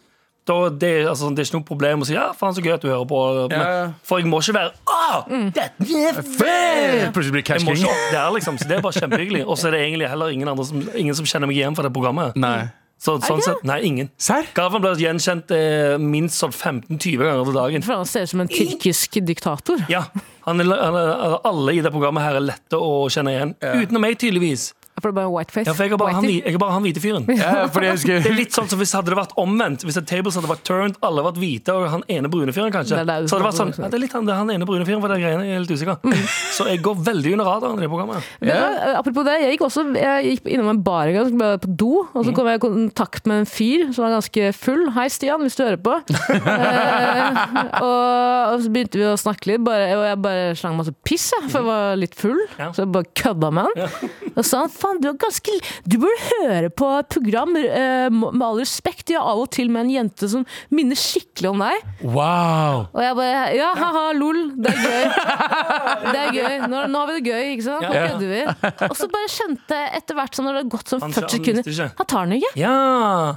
Da, det, er- altså, det er ikke noe problem å si ja, faen så gøy at du hører på. Men,
Ja, ja.
For jeg må ikke være Åh, dette er fett!
Plutselig blir
Jeg
Cash
må
King.
ikke opp der, liksom. Så det er bare kjempehyggelig. Og så er det egentlig heller ingen, andre som, ingen som kjenner meg igjen fra det programmet.
Nei.
Så, sånn
det?
sett, nei, ingen.
Serr?
Galvan blir gjenkjent eh, minst sånn 15-20 ganger til dagen.
For han ser ut som en tyrkisk diktator.
Ja, han er, han er, Alle i det programmet her er lette å kjenne igjen. Utenom meg, tydeligvis.
For det er bare whiteface.
Ja, for jeg er bare han,
Whitey.
hvi- jeg er bare han hvite fyren.
Ja, fordi jeg husker
Det er litt sånn som hvis hadde det vært omvendt. Hvis at tables hadde vært turned, alle vært hvite, og han ene brune fyren kanskje.
Det er der du
så hadde det vært
snakker om,
sånn, ja, det er litt han, det er han ene brune fyren for det greiene, jeg er helt
Mm.
usikker. Så jeg går veldig under radaren i det programmet.
Men, eh, apropos det, jeg gikk også jeg gikk innom en bar en gang, så ble jeg på do, og så kom jeg i kontakt med en fyr som var ganske full. Hei, Stian, hvis du hører på. eh, og, og så begynte vi å snakke litt, bare, og jeg bare slang masse piss, jeg, for jeg var litt full.
Ja.
Så jeg bare kødda med han. Og sa han faen, du er ganske Du burde høre på et program, eh, med all respekt, de har av og til med en jente som minner skikkelig om deg.
Wow!
Og jeg bare Ja, haha, lol. Det er gøy. Det er gøy. Nå, nå har vi det gøy, ikke sant? Nå
Ja.
kødder vi. Og så bare kjente jeg etter hvert sånn når det har gått sånn
Han-
40
han
sekunder
visste ikke.
Han tar den ikke.
Ja!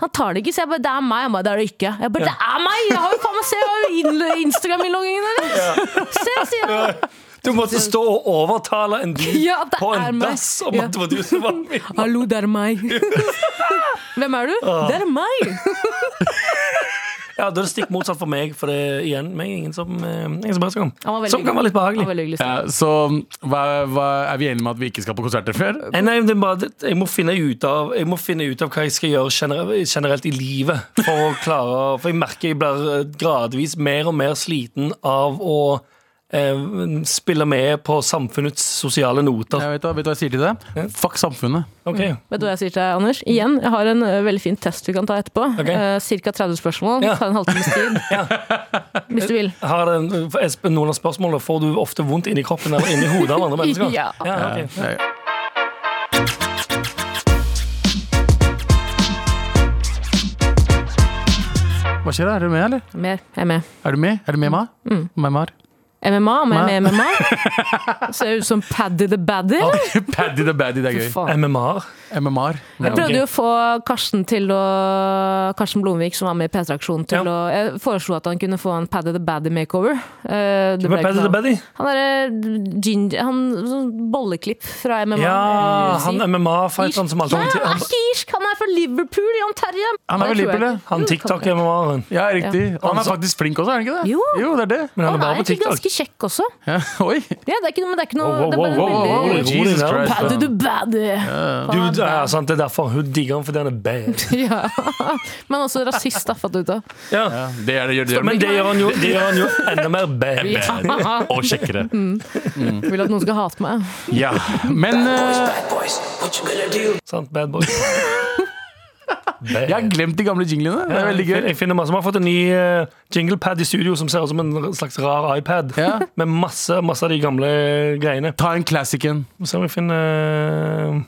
Han tar det ikke, så jeg bare Det er meg. Han bare Det er det ikke. Jeg bare Det er meg! Jeg har jo faen meg Se, jeg har jo innl- Instagram-innloggingen deres! Se, sier han.
Du måtte stå og overtale en dyr
Ja, det
på
er
en
meg.
dass om
Ja.
at det var du som var min.
Hallo, det er meg. Hvem er du?
Ah.
Det er meg!
Ja, da er det stikk motsatt for meg, for det er igjen meg, ingen som, eh, ingen som bryr seg om.
Han var veldig
Som kan være litt
Han
behagelig.
var veldig hyggelig.
Ja, så hva, hva, er vi enige om at vi ikke skal på konserter før?
Nei, Eh, nei, det er bare, det- jeg, må finne ut av, jeg må finne ut av hva jeg skal gjøre generelt, generelt i livet. For å klare å- For jeg merker jeg blir eh, gradvis mer og mer sliten av å eh, spille med på samfunnets sosiale noter.
Jeg vet, hva- vet du hva jeg sier til det? Fuck samfunnet.
Ok,
Vet du hva jeg sier til deg, Anders? Igjen, jeg har en ø, veldig fin test vi kan ta etterpå.
Ok.
Eh, cirka 30 spørsmål.
Ja.
Ta en halvtimes tid. Hvis du vil.
har den, Espen, noen av spørsmålene får du ofte vondt inni kroppen eller inni hodet av andre mennesker?
Ja.
ok.
Hva skjer? da? Er du med, eller?
Mer. Jeg er med.
Er du med? Er du med, Ma? Med, Mar?
MMA, om jeg
Nei.
er med i MMA? Ser ut som Paddy the Baddy. eller?
Paddy the Baddy, det er gøy.
Faen.
MMR.
MMR.
Jeg
Ja.
prøvde jo å få Karsten til å Karsten Blomvik, som var med i P3-aksjonen, til
Ja.
å Jeg foreslo at han kunne få en Paddy the Baddy makeover. Eh, det ble
Hvem er
ikke
Paddy
noe
the
av.
Baddy?
Han derre ginger Han sånn bolleklipp fra MMA.
Ja, han MMA-fighteren som
eh,
alltid
Ja, han
Han,
er ikke irsk! Han er fra Liverpool, Jan
Han
Terje!
er vel
Det tror jeg Mm.
Liverpool,
ikke.
han TikTok-MMR-en.
ja, riktig. Altså- Og han er faktisk flink også, er han ikke det?
Jo.
det er det.
Men han
Han
er bare
er
på
egentlig
TikTok.
ganske kjekk også.
Ja, oi!
Ja, det er ikke, men det er ikke noe
Wow,
det er
wow,
bare
wow, wow, wow,
veldig
wow. Jesus Christ.
Paddy the baddy!
Du, ja, sant, det er derfor hun digger ham fordi han er bad.
Ja. Men også rasist, da, fant jeg ut av.
Ja.
Ja, det er det, gjør det. gjør
Men det gjør han jo, det gjør han jo enda mer bad.
det. Og Mm. kjekkere.
Mm. Vil at noen skal hate meg.
Ja. Men eh,
Sant, bad boy. Bad.
jeg har glemt de gamle jinglene. Det er veldig gøy.
Jeg finner masse. Vi har fått en ny eh, jinglepad i studio som ser ut som en slags rar iPad.
Ja.
Med masse, masse av de gamle greiene.
Ta en classicen.
Må se om jeg finner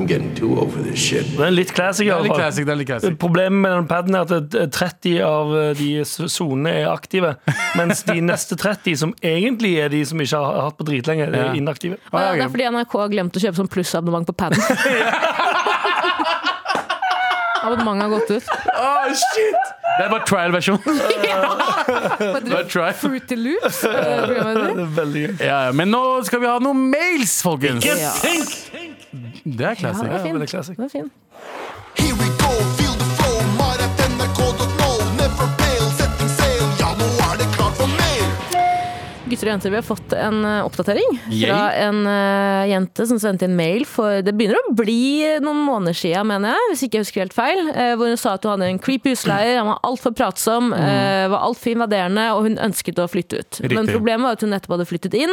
I'm getting too over this shit.
Det er litt
Det
classic. i
er
alle
litt
fall.
classic. det er litt classic.
Problemet med den paden er at eh, 30 av eh, de s- sonene er aktive, mens de neste 30, som egentlig er de som ikke har hatt på dritlenge,
Ja.
er
Å,
inaktive.
Det
Ah, ja,
er- det
ok.
er fordi NRK har glemt å kjøpe sånn plussabonnement på paden. Abonnementet har gått ut.
Å, Ah, shit! Det er bare trial-versjon. Det
Hva
er trial.
Fruity Loops? eh, programmet ditt.
Veldig gøy.
Ja, men nå skal vi ha noen mails, folkens!
Ja.
Det er
Ja,
classic.
den er fin.
veldig classic.
Den er fin.
Here we go, feel the flow. Mar at nrk.no. Never fail, setting sail. Ja, nå er det klart for mer.
Gutter og jenter, vi har fått en eh, oppdatering
Yay.
fra en eh, jente som sendte inn mail for Det begynner å bli noen måneder siden, mener jeg, hvis ikke jeg husker helt feil. eh, Hvor hun sa at hun hadde en creepy husleier, han var altfor pratsom,
Mm.
eh, var altfor invaderende, og hun ønsket å flytte ut. Men
Riktig. Mm.
problemet var at hun nettopp hadde flyttet inn,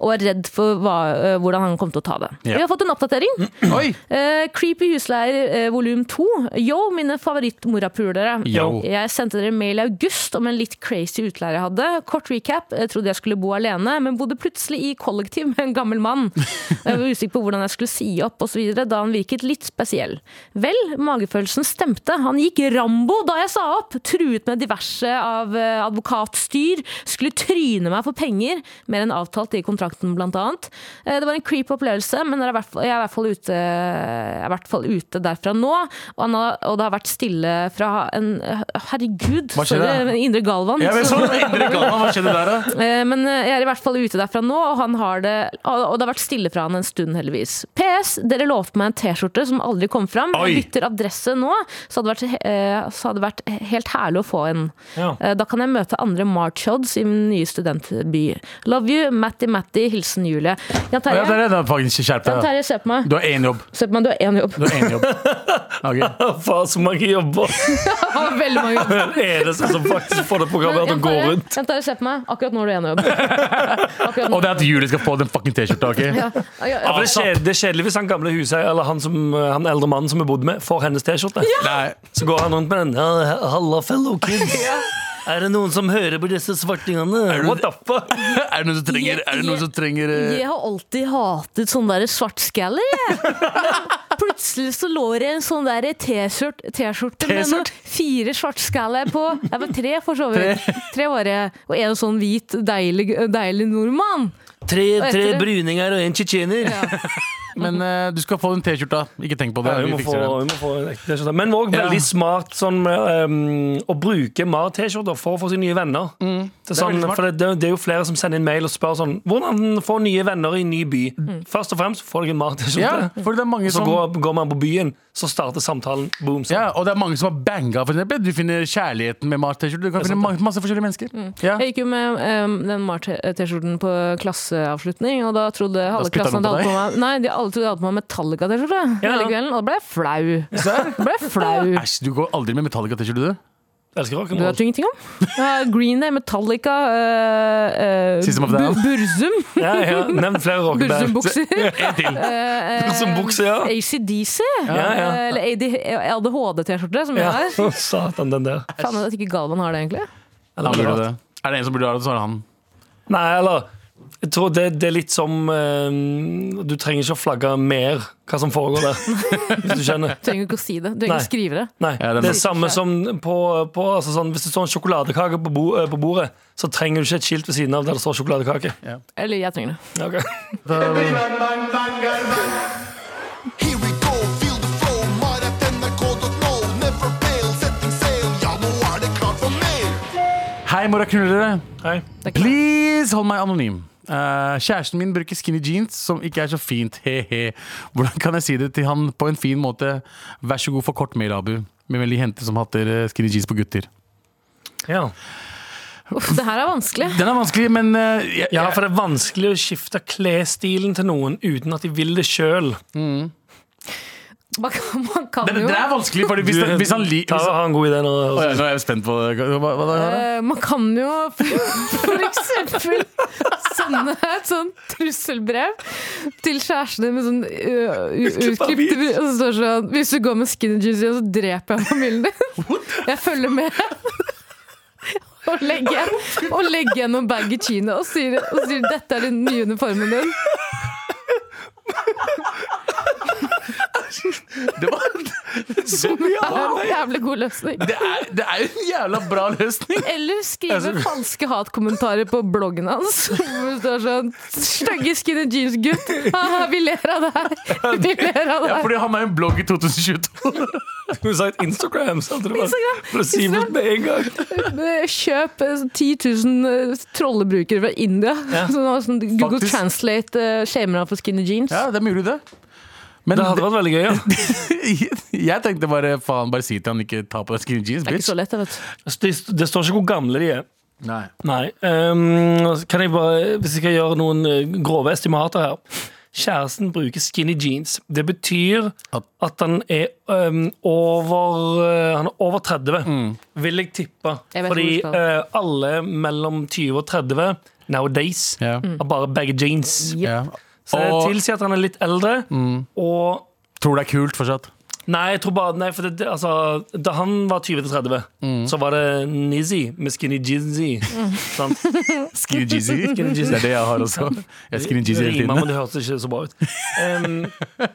og var redd for hva, eh, hvordan han kom til å ta det.
Ja.
Vi har fått en oppdatering.
Oi!
Eh, creepy husleier uh, volum to. Yo, mine favorittmorapulere.
Yo.
Jeg sendte dere en mail i august om en litt crazy utleier jeg hadde. Kort recap. Jeg trodde jeg skulle bo alene, men bodde plutselig i kollektiv med en gammel mann. Og Jeg var usikker på hvordan jeg skulle si opp osv. da han virket litt spesiell. Vel, magefølelsen stemte. Han gikk Rambo da jeg sa opp. Truet med diverse av eh, advokatstyr. Skulle tryne meg for penger. Mer enn avtalt i kontrakten, blant annet. Eh, Det var en creepy opplevelse, men jeg er i hvert fall- jeg er i hvert fall ute, jeg er i hvert fall ute derfra nå. Og, han har, og det har vært stille fra en Herregud,
Hva skjer
sorry,
da?
men indre Galvan.
Jeg vet
Så-
sånn, indre Ghana, Hva skjedde der, da?
Eh, Men Men eh, jeg er i hvert fall ute derfra nå, og, han har det, og og det har vært stille fra han en stund, heldigvis. PS. Dere lovte meg en T-skjorte som aldri kom fram.
Oi!
Jeg bytter adresse nå, så hadde det vært, eh, så hadde det vært helt herlig å få en.
Ja.
Eh, Da kan jeg møte andre Marchods i min nye studentby. Love you, Matti Matti. Hilsen Julie.
Å, ja,
Jan Terje,
der er det faktisk skjerp
Jan
deg.
Terje, se på meg.
Du har én jobb.
Se på meg, du har én jobb.
Du har én jobb. Ok.
Faen, så mange jobber.
Veldig mange jobber.
Den eneste som faktisk får det programmet til å
Jan
gå
Terje,
rundt.
Jan Terje, se på meg. Akkurat nå har du én jobb. Akkurat nå.
Og det at Julie skal få den fucking T-skjorta. ok?
Ja. Ja,
Ja,
ja.
for det, er kjedelig, det er kjedelig hvis han gamle huseier eller han, som, eh, han eldre mannen som vi bodde med, får hennes T-skjorte.
Nei.
Så går han rundt med den. «Ja, Halla, fellow kids. Er det noen som hører på disse svartingene? What the fuck?
Er det noen som trenger, er det noen som trenger eh,
Jeg har alltid hatet sånne der svartskaller, jeg. Men plutselig så lå det en sånn der T-skjort- T-skjorte med
T-skjort?
noen fire svartskaller på. Jeg var tre, for så vidt. Tre var jeg. Og en sånn hvit, deilig, deilig nordmann.
Tre,
Hva heter
tre
du?
bryninger og en tsjetsjener.
Men eh, du skal få den T-skjorta. Ikke tenk på det.
Ja, vi må
Vi
få,
fikser den.
vi må få en ekte T-skjorte. Men òg veldig
Ja.
smart sånn, ehm, å bruke mer T-skjorter for å få sine nye venner. Det, er sånn,
Mm. veldig smart.
for det, det er jo flere som sender inn mail og spør sånn Hvordan få nye venner i en ny by? Først og fremst får deg en
Ja,
Mar-T-skjorte.
for det er mange
Så
som
går, går man på byen, så starter samtalen. Boom. Så.
ja, og det er mange som har banga, for eksempel. Du finner kjærligheten med Mars-T-skjorte. Du kan finne mange, masse forskjellige mennesker. Ja.
Jeg gikk jo med em, den Mar-T-skjorten på klasseavslutning, og da trodde halve
spyttet
klassen at
noen på
jeg hadde på meg Nei, de alle trodde jeg hadde på meg Metallica-T-skjorte
Ja.
hele kvelden, og da ble jeg flau.
Serr?
Da ble jeg flau.
Æsj, du går aldri med Metallica-T-skjorte, du.
Elsker
Det vet
rock'n'roll.
du ingenting om. Ja, Green Day, Metallica, eh, eh,
System of a Down.
Bu- Burzum.
Ja, ja. Nevn flere rockeband.
Burzumbukser.
En til.
Eh,
Bursum-bukse, ja.
ACDC.
Ja, ja.
eh, Eller ADHD-T-skjorte, som jeg
Ja,
har.
Satan, den der.
Faen at ikke Galvan har det, egentlig.
Han burde det. Er det en som burde ha det, så er det han.
Nei, eller jeg tror det, det er litt som ehm, Du trenger ikke å flagge mer hva som foregår der. Hvis du skjønner.
Trenger ikke å si det. Du trenger ikke å
Nei.
skrive det.
Nei,
Ja, den-
det er samme som på, på altså sånn, Hvis det står en sjokoladekake på, bo, eh, på bordet, så trenger du ikke et skilt ved siden av der det står sjokoladekake.
Eller jeg trenger det.
Ja, ok.
Here we go, feel the flow, Marat NRK.no. Never fail, setting sail, ja, nå er det klart for mer.
Hei, moraknullere.
Hei.
Please hold meg anonym. Eh, kjæresten min bruker skinny jeans som ikke er så fint. He-he. Hvordan kan jeg si det til han på en fin måte? Vær så god for kort mail, Abu. Med veldig jenter som hatter eh, skinny jeans på gutter.
Ja.
Uff, det her er vanskelig.
Den er vanskelig, men eh, jeg,
ja, for det er vanskelig å skifte klesstilen til noen uten at de vil det sjøl.
Man kan, man kan
det,
jo
det er vanskelig, for hvis, hvis han li- hvis,
har en god idé nå. altså.
Å ja, Nå er jeg spent på det. Hva, hva da? Klara?
Eh, man kan jo for eksempel sende et sånn trusselbrev til kjærestene med sånn uh, utklippte br- Og så står det sånn Hvis du går med skinny juicy, så dreper jeg familien din. Jeg følger med. Og legger, og legger gjennom baggy chino og sier, og sier 'dette er den nye uniformen din'.
Det, var,
Det er en jævlig god løsning.
det, er, det er jo en jævla bra løsning.
Eller skrive falske hatkommentarer på bloggen hans. Hvor det står sånn 'Stygge skinny jeans-gutt'. Haha, Vi ler av deg! Vi ler av
Ja,
deg!
fordi han har jo en blogg i 2022.
Du sa et Instagram. sant? Det var-
Instagram.
For å si det med en gang.
Kjøp eh, 10 000 eh, trollebrukere fra India. Som har sånn Google
Faktisk.
Translate eh, shamer han for skinny jeans.
Ja, det er mulig, det. Men
Det hadde vært veldig gøy. Ja.
jeg tenkte bare faen, bare si til han ikke ta på deg skinny jeans,
Det er ikke
bitch.
så lett, jeg vet.
Det, Altså, det står ikke hvor gamle de er.
Nei.
Nei. ehm, kan jeg bare, hvis jeg skal gjøre noen eh, grove estimater her Kjæresten bruker skinny jeans. Det betyr
At-
at, han er ehm, over eh, Han er over 30,
Mm.
vil jeg tippe.
Jeg vet
Fordi
hvor du skal.
eh, alle mellom 20 og 30 nowadays
Ja.
Mm.
har bare baggy jeans.
Ja.
Så det
Og- Mm.
tilsier at han er litt eldre. Og
Tror det er kult fortsatt.
Nei, jeg tror bare, nei, for det, det, altså, da han var 20-30,
Mm.
så var det Nizzy med skinny jeansy.
Mm.
Sant?
Skinny jeezy. Det er det jeg har også. Jeg er skinny jeezy hele
Rima, men
tiden.
det hørtes ikke så bra ut. Em,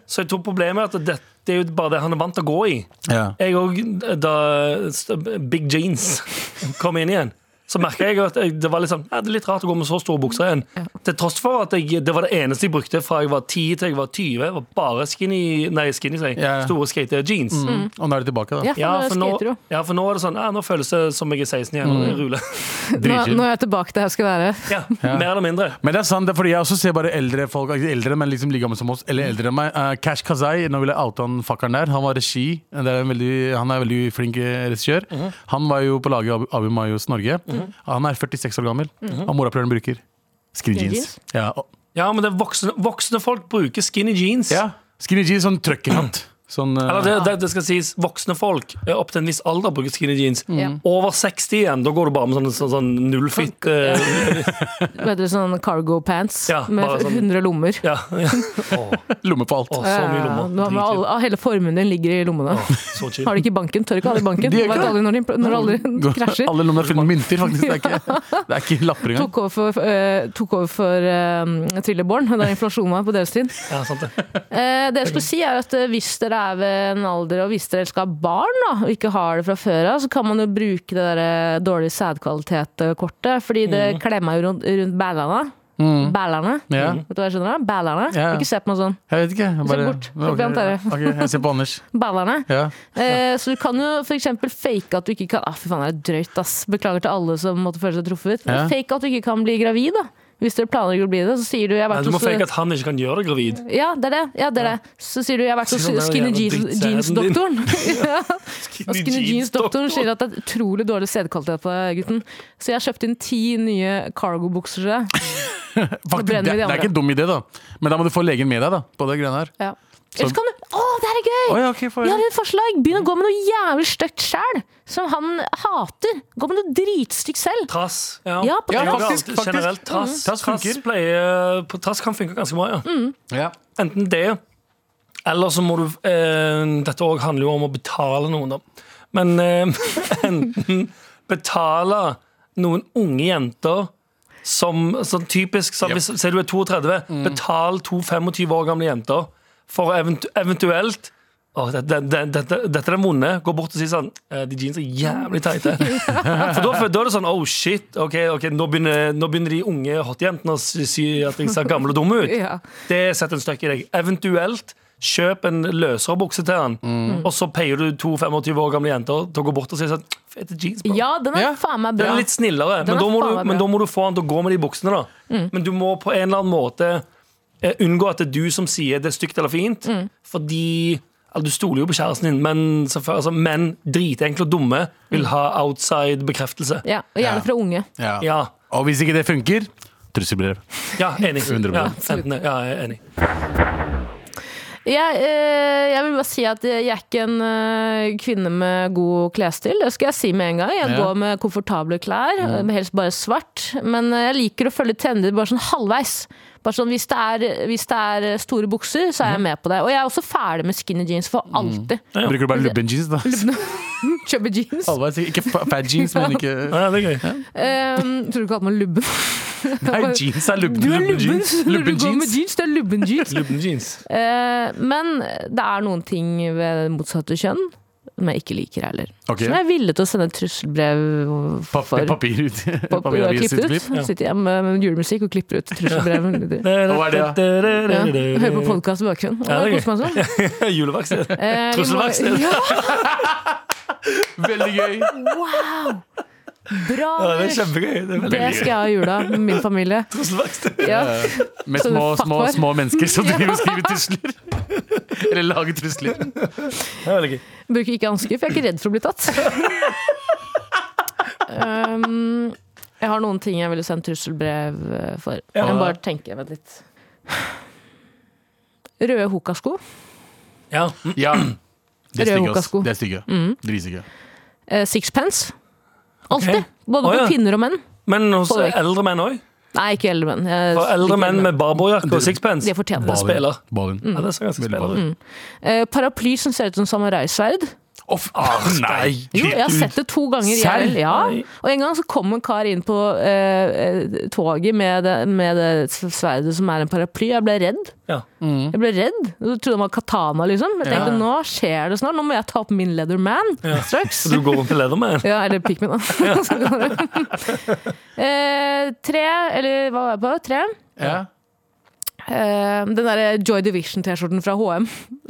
så jeg tror problemet er at det, det er jo bare det han er vant til å gå i.
Ja.
Jeg òg, da st- Big Jeans kom inn igjen, så merka jeg at jeg, det var litt sånn «Nei, Det er litt rart å gå med så store bukser igjen. Til tross for at jeg, det var det eneste jeg brukte fra jeg var 10 til jeg var 20. Var bare skinny, nei, skinny, sier jeg,
Ja. Mm.
store skate jeans.
Og nå er det tilbake, da.
Ja,
Ja, for nå,
skater jo.
Mm.
ja, for nå er det sånn «Ah, Nå føles det som jeg er 16 igjen. og jeg ruler.
Nå,
Dritkjipt.
nå er jeg tilbake til jeg skulle være.
Ja, Mer eller mindre.
Men det er sant, det er fordi jeg også ser bare eldre folk ikke Eldre, men liksom like gamle som oss, eller eldre enn meg. Eh, Cash Kazai, nå vil jeg oute han fuckeren der. Han var regi. Det er en veldig, han er en veldig flink eh, regissør. Han var jo på laget i Abu- Abu Mayos Norge. Han er 46 år gammel. Og morapuler'n bruker skinny
Skinny
jeans. Ja, og,
Ja, men det er voksne, voksne folk bruker skinny jeans.
ja. Skinny jeans, sånn trøkkerhatt. Sånn, eh,
Eller det, det, det skal sies, voksne folk eh, opp til en viss alder bruker skinny jeans.
Ja.
Over 60 igjen, da går du bare med sånn, sånn, sånn nullfit eh,
Vet du, sånn cargo pants
Ja, bare
med
sånn-
100 lommer.
Ja. ja. Åh,
lomme på alt.
åh, så mye
Ja,
lommer.
du har med
Dritkjipt.
alle, hele formuen din ligger i lommene.
Åh, Så chill.
Har de ikke i banken? Tør ikke ha det i banken.
De gjør ikke
Vet
det.
aldri når de, når alle krasjer.
Alle lommene er fulle med mynter, faktisk. Det er ikke, det er ikke lapper engang.
Tok over for, eh, tok over for eh, Trilleborn da inflasjonen var på deres tid.
Ja, sant det.
Eh, det jeg skulle si er at eh, Hvis dere er ved en alder og hvis dere skal ha barn da, og ikke har det fra før av, så kan man jo bruke det der eh, dårlig sædkvalitet-kortet. Fordi det klemmer jo rundt, rundt ballene. Ballene.
Mm. Ja.
Vet du hva jeg skjønner? da? Ballene.
Ja.
Ikke se på meg sånn.
Jeg vet ikke. Jeg bare,
bort. Se på Jan Terje.
Ok, jeg ser på Anders.
Ballene.
Ja.
Eh, så du kan jo f.eks. fake at du ikke kan ah, Fy faen, det er drøyt, ass. Beklager til alle som måtte føle seg truffet.
Ja.
Fake at du ikke kan bli gravid, da. Hvis dere planlegger å bli det, så sier du jeg har
Nei,
vært
Du må
hos eh,
eh,
fake at han ikke kan gjøre deg gravid.
Ja, det er det. Ja, det er det. Så sier du jeg har vært hos
Sånn er det
Skinny
jævla
Jeans-
dritt sæden din.
Jeans-doktoren. ja. Og Skinny Jeans-doktoren sier at det er utrolig dårlig sædkvalitet på deg, gutten. Så jeg har kjøpt inn ti nye cargo-bukser til deg.
Faktisk, det,
brenner vi de
det er
andre.
ikke en dum idé, da. Men da må du få legen med deg. da På det greiene her
Ja. Ellers kan du Å, det her er gøy!
Å ja, ok, får
Jeg har
jeg.
et forslag! Begynn å gå med noe jævlig stygt sjæl, som han hater. Gå med noe dritstygt selv.
Trass.
Ja, på
Ja,
trass.
faktisk, faktisk.
Generelt trass.
Mm. Trass funker.
pleier, på, trass kan funke ganske bra, ja.
Ja.
Enten det, eller så må du eh, Dette også handler jo om å betale noen, da. Men eh, enten betale noen unge jenter som sånn typisk sånn,
Yep.
hvis, Sier du er 32, betal to 25 år gamle jenter for å eventu eventuelt Åh, det- det- det- Dette dette er den vonde. Gå bort og si sånn eh, De jeans er jævlig teite. For da, da er det sånn Oh shit, ok, ok, nå begynner, nå begynner de unge hotjentene å si- si at jeg ser gammel og dum ut.
Ja.
Det setter en støkk i deg. Eventuelt kjøp en løsere bukse til han,
Mm.
og så peier du to 25 år gamle jenter til å gå bort og si sånn Fete jeans, bro.
Ja, den er
Ja.
faen meg
Det
bra.
er litt snillere,
Den
men
er
da,
faen meg
må du,
bra. Mm.
men da må du få han til å gå med de buksene. da Men du må på en eller annen måte eh, unngå at det er du som sier det er stygt eller fint,
Mm.
fordi altså, Du stoler jo på kjæresten din, men, selvfølgelig- altså, men dritenkle og dumme vil ha outside bekreftelse.
Mm. Ja,
Ja.
og gjerne fra unge.
Ja.
Ja,
Og hvis ikke det funker, trusselbrev.
ja enig.
100%.
Ja, enten, det- ja, jeg er enig.
Jeg, eh, jeg vil bare si at jeg er ikke en eh, kvinne med god klesstil. Det skal jeg si med en gang. Jeg
Ja. Mm.
går med komfortable klær, eh, helst bare svart. Men eh, jeg liker å følge trender bare sånn halvveis. Bare sånn, hvis, det er, hvis det er eh, store bukser,
Mm.
så er jeg med på det. Og jeg er også ferdig med skinny jeans for alltid.
Bruker du bare Mm. lubben jeans, da?
Chubby jeans.
Halvveis, ikke fa- fat jeans, men ikke
Ja, det er gøy.
Um, tror du ikke at man er lubben?
Nei, jeans er lubben,
Du er
lubben
lubben
jeans.
når du
Lubben
går med
jeans.
jeans. Du er lubben jeans.
Lubne jeans.
Eh, men det er noen ting ved det motsatte kjønn som jeg ikke liker heller.
Ok.
Som jeg er villig til å sende et trusselbrev
Pap-
for.
Papir ut.
Pop- ja,
Papiravis
klippe
sitt
ut.
klipp.
Sitter hjemme med julemusikk og klipper ut trusselbrev.
Hva er det,
Ja. Hører på podkast i bakgrunnen.
Ja, det er
Jeg koser meg sånn.
Juleverksted.
Eh, vi må-
Trusselverksted.
Ja,
Veldig gøy.
wow! Bra!
Ja, det er
Anders.
kjempegøy. Det er veldig
det skal jeg ha i jula med min familie.
trusselverksted.
Ja.
Eh, Med
Så du
små,
fuck
små,
var.
små mennesker som driver og skriver trusler. Eller lager trusler.
Det er veldig gøy.
Bruker ikke hansker, for jeg er ikke redd for å bli tatt. um, jeg har noen ting jeg ville sendt trusselbrev eh, for. Jeg må bare tenke vent litt. Røde hokasko.
Ja.
Ja. Det er
Røde
stygge, ass.
hokasko.
Det er stygge.
Mm.
Dritstygge.
Eh, sixpence. Alltid.
Ok.
Både
Å,
på
ja.
kvinner og menn.
Men hos
Folk.
eldre menn òg.
Nei, ikke eldre menn. Jeg liker
Eldre menn med barberjakke og sixpence.
De fortjener det.
Jeg spiller.
Ballen.
Mm.
Ja, det ser ganske
Veldig
spiller ut.
Eh, paraply som ser ut som samuraisverd.
Off. Ah, nei!
Jo, jeg har sett det to ganger. Jeg,
Serr?
ja.
Nei.
Og en gang så kom en kar inn på eh, eh, toget med det, med det sverdet som er en paraply. Jeg ble redd.
Ja.
Jeg ble redd. Jeg trodde han var katana, liksom. Jeg tenkte
Mm. Ja.
nå skjer det snart. Nå må jeg ta opp min Leatherman straks.
Så du går rundt i Leatherman?
Ja, eller Pikmin, da. Så går det. eh, tre, eller hva var jeg på? Tre.
Ja.
Eh, den derre Joy Division-T-skjorten fra HM,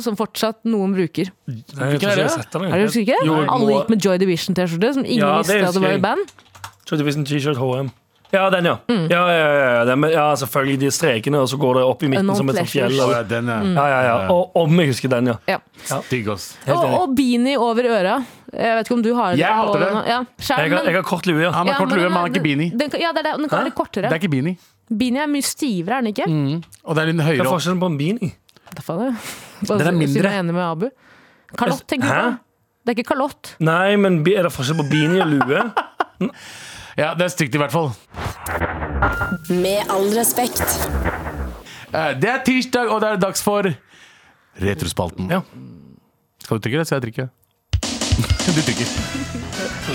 som fortsatt noen bruker.
Nei, jeg tror ikke jeg har sett den.
Er du sikker?
Jo, jeg
Alle
må-
gikk med Joy Division-T-skjorte, som ingen
Ja, det
visste at
husker
det var
jeg.
i band.
Kjøpte T-shirt HM. Ja, den, ja. Ja, ja, ja, ja, den, med- ja. Selvfølgelig de strekene, og så går det opp i midten
Unknown
som et sånt fjell.
pleasures.
Å,
eller-
ja, den
Mm.
er
Ja, ja, ja. Og om jeg husker den, ja.
Ja.
digg, ass.
Helt
Og,
enig.
og beanie over øra. Jeg vet ikke om du har det.
Jeg hater
på
det.
nå. Ja. Skjerm,
Jeg har,
men-
jeg har kort lue. Ja.
Han har
Ja,
kort
men
lue,
den
men han har ikke beanie.
Den, kan- ja, det er, det. den kan være kortere.
Det er ikke Mm. beanie.
Beanie er mye stivere, er den ikke?
Og det er litt
Hva
høyere
er
opp.
forskjellen på en beanie?
Derfor er det. Bare
Den er
si-
mindre.
siden jeg er enig med Abu. Kalott, tenker du
Hæ?
på? Det er ikke kalott.
Nei, men be- er det forskjell på beanie og lue?
Ja, det er stygt, i hvert fall.
Med all respekt.
Eh, Det er tirsdag, og det er dags for Retrospalten.
Ja.
Skal du trykke, eller skal jeg trykke? Du trykker.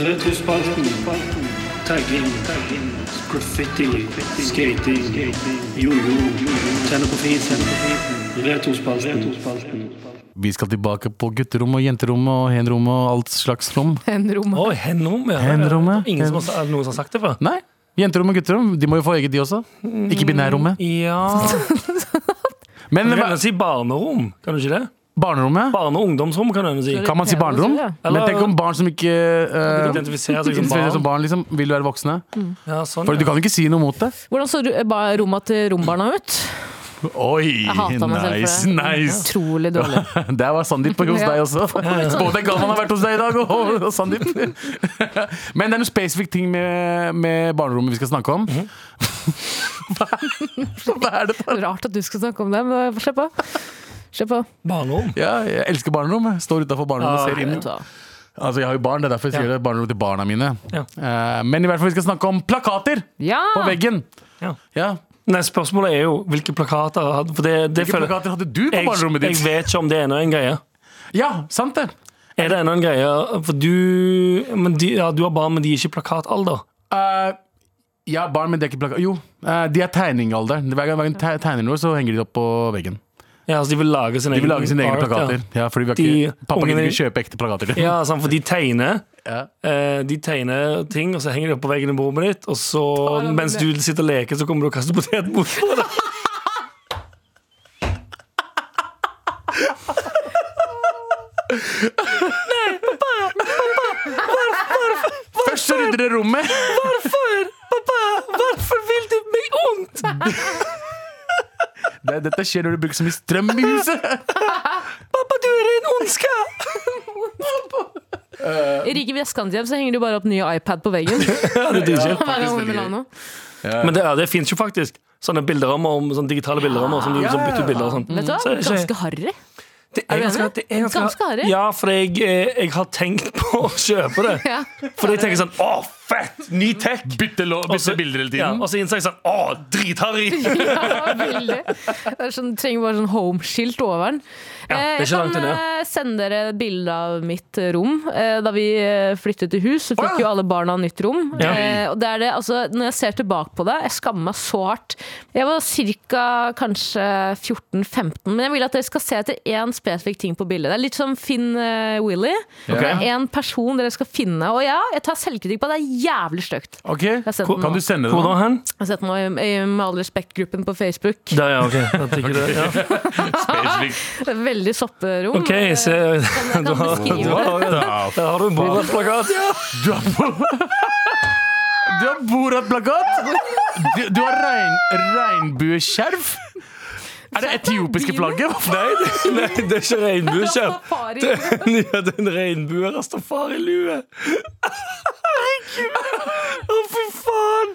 Retrospalten. Tagging. Graffiti. Skating. Jojo. Tenne på fisen. Retrospalten.
Vi skal tilbake på gutterom og jenterom og henrom og alt slags rom.
En rom.
Å, henrom, ja.
Henrom, ja.
Ingen som har, er det noen som har sagt det før?
Nei. Jenterom og gutterom, de må jo få eget, de også. Ikke
Mm.
binærrommet.
Ja
Men
Du
hva-
kan jo si barnerom, kan du ikke det?
barnerommet?
Barne- og ungdomsrom, kan du si.
Kan man si barnerom?
Ja.
Men tenk om barn som ikke eh,
Identifisere seg som
identifiserer seg som
barn.
barn, liksom, vil være voksne.
Ja, sånn,
For du
ja.
kan jo ikke si noe mot det.
Hvordan så ru- ba- romma til rombarna ut?
Oi,
Jeg hatet meg selv
nice,
for det.
nice.
Utrolig dårlig.
Der var Sandeep hos
Ja.
deg også. Både Galvan har vært hos deg i dag, og og Sandeep. Men det er noen spesifikk ting med, med barnerommet vi skal snakke om. Hva hva er det for
Rart at du skal snakke om det, men slipp av. Slipp av.
Barnerom.
Ja, jeg elsker barnerom. Jeg Står utafor barnerommet og ser inn. Altså, jeg har jo barn, det er derfor jeg sier
Ja.
det. Barnerom til barna mine.
Ja.
Eh, Men i hvert fall, vi skal snakke om plakater
Ja!
på veggen.
Ja.
Ja,
Nei, spørsmålet er jo hvilke plakater hadde For det, det
Hvilke
føler
plakater hadde du på
jeg,
barnerommet
jeg
ditt?
vet ikke om det er ennå en greie.
Ja, sant det.
Er det ennå en greie? For du, men de, ja, du har barn, men de er ikke i plakatalder.
Eh, jeg har barn, men det er ikke plakat. Jo, eh, de er tegningalder. Hver gang hver gang te- tegner noe, så henger de det opp på veggen.
Ja, altså de vil lage sine
De vil lage sine egne
art, ja.
plakater. Ja, fordi vi har
De
ikke, Pappa kan
ungene-
ikke kjøpe ekte plakater.
Ja, sant, for de tegner.
Ja.
eh, De tegner ting, og så henger de opp på veggen i bordet mitt. Og så, mens du sitter og leker, så kommer du og kaster potetmos på det.
Først så rydder dere rommet.
Hvorfor? Pappa, hvorfor vil du meg ondt?
Det, dette skjer når du bruker så mye strøm i huset.
Pappa, du er en ondskap!
I rike vestkantshjem så henger det jo bare opp nye iPad på veggen.
Ja, det er dritkult.
Hver gang vi vil ha noe.
Men det, ja, det fins jo faktisk sånne bilderammer om, sånne digitale bilderammer som du liksom bytter ut bilder og
Mm,
sånn.
Vet du hva?
Så er det ikke-
Ganske harry.
Det er
du
ganske,
enig?
det er ganske,
Ganske harry.
Ja, for jeg, eh, jeg har tenkt på å kjøpe det.
Ja.
For jeg tenker sånn Å, fett! Ny tech!
Bytte, lo,
Og så-
bytte bilder hele
Ja,
tiden.
og så innså jeg sånn Å, dritharry!
Ja, veldig. Det er sånn, trenger bare sånn home-skilt over den.
Ja, det er
Eh,
ikke langt
jeg kan
unna.
eh, sende dere et bilde av mitt eh, rom. Eh, Da vi eh, flyttet til hus, så fikk jo alle barna nytt rom.
Ja.
Eh, Og det er det, altså, når jeg ser tilbake på det, jeg skammer meg så hardt. Jeg var ca. kanskje 14-15, men jeg vil at dere skal se etter én spesifikk ting på bildet. Det er litt som Finn eh, Willy. Det er én person dere skal finne. Og ja, jeg tar selvkritikk på at det er jævlig stygt.
Ok,
har sett den
Kan du
nå.
sende det?
Hvor da hen?
Jeg har sett den nå i, i Med all respekt-gruppen på Facebook.
Der, ja. Ok, jeg tenker det, ja.
Spesifikt.
Det er Veldig sopperom.
Ok, se
Kan jeg kan beskrive det?
Der har du en Borat-plakat.
Du har, du har Borat-plakat! Du, du har regn, regnbueskjerf! Er det etiopiske flagget? Hva faen?
Nei, det- nei, det er ikke regnbueskjerm.
Safari.
Det er en, ja, det er en regnbue-rastafari-lue. Herregud! Å, fy faen!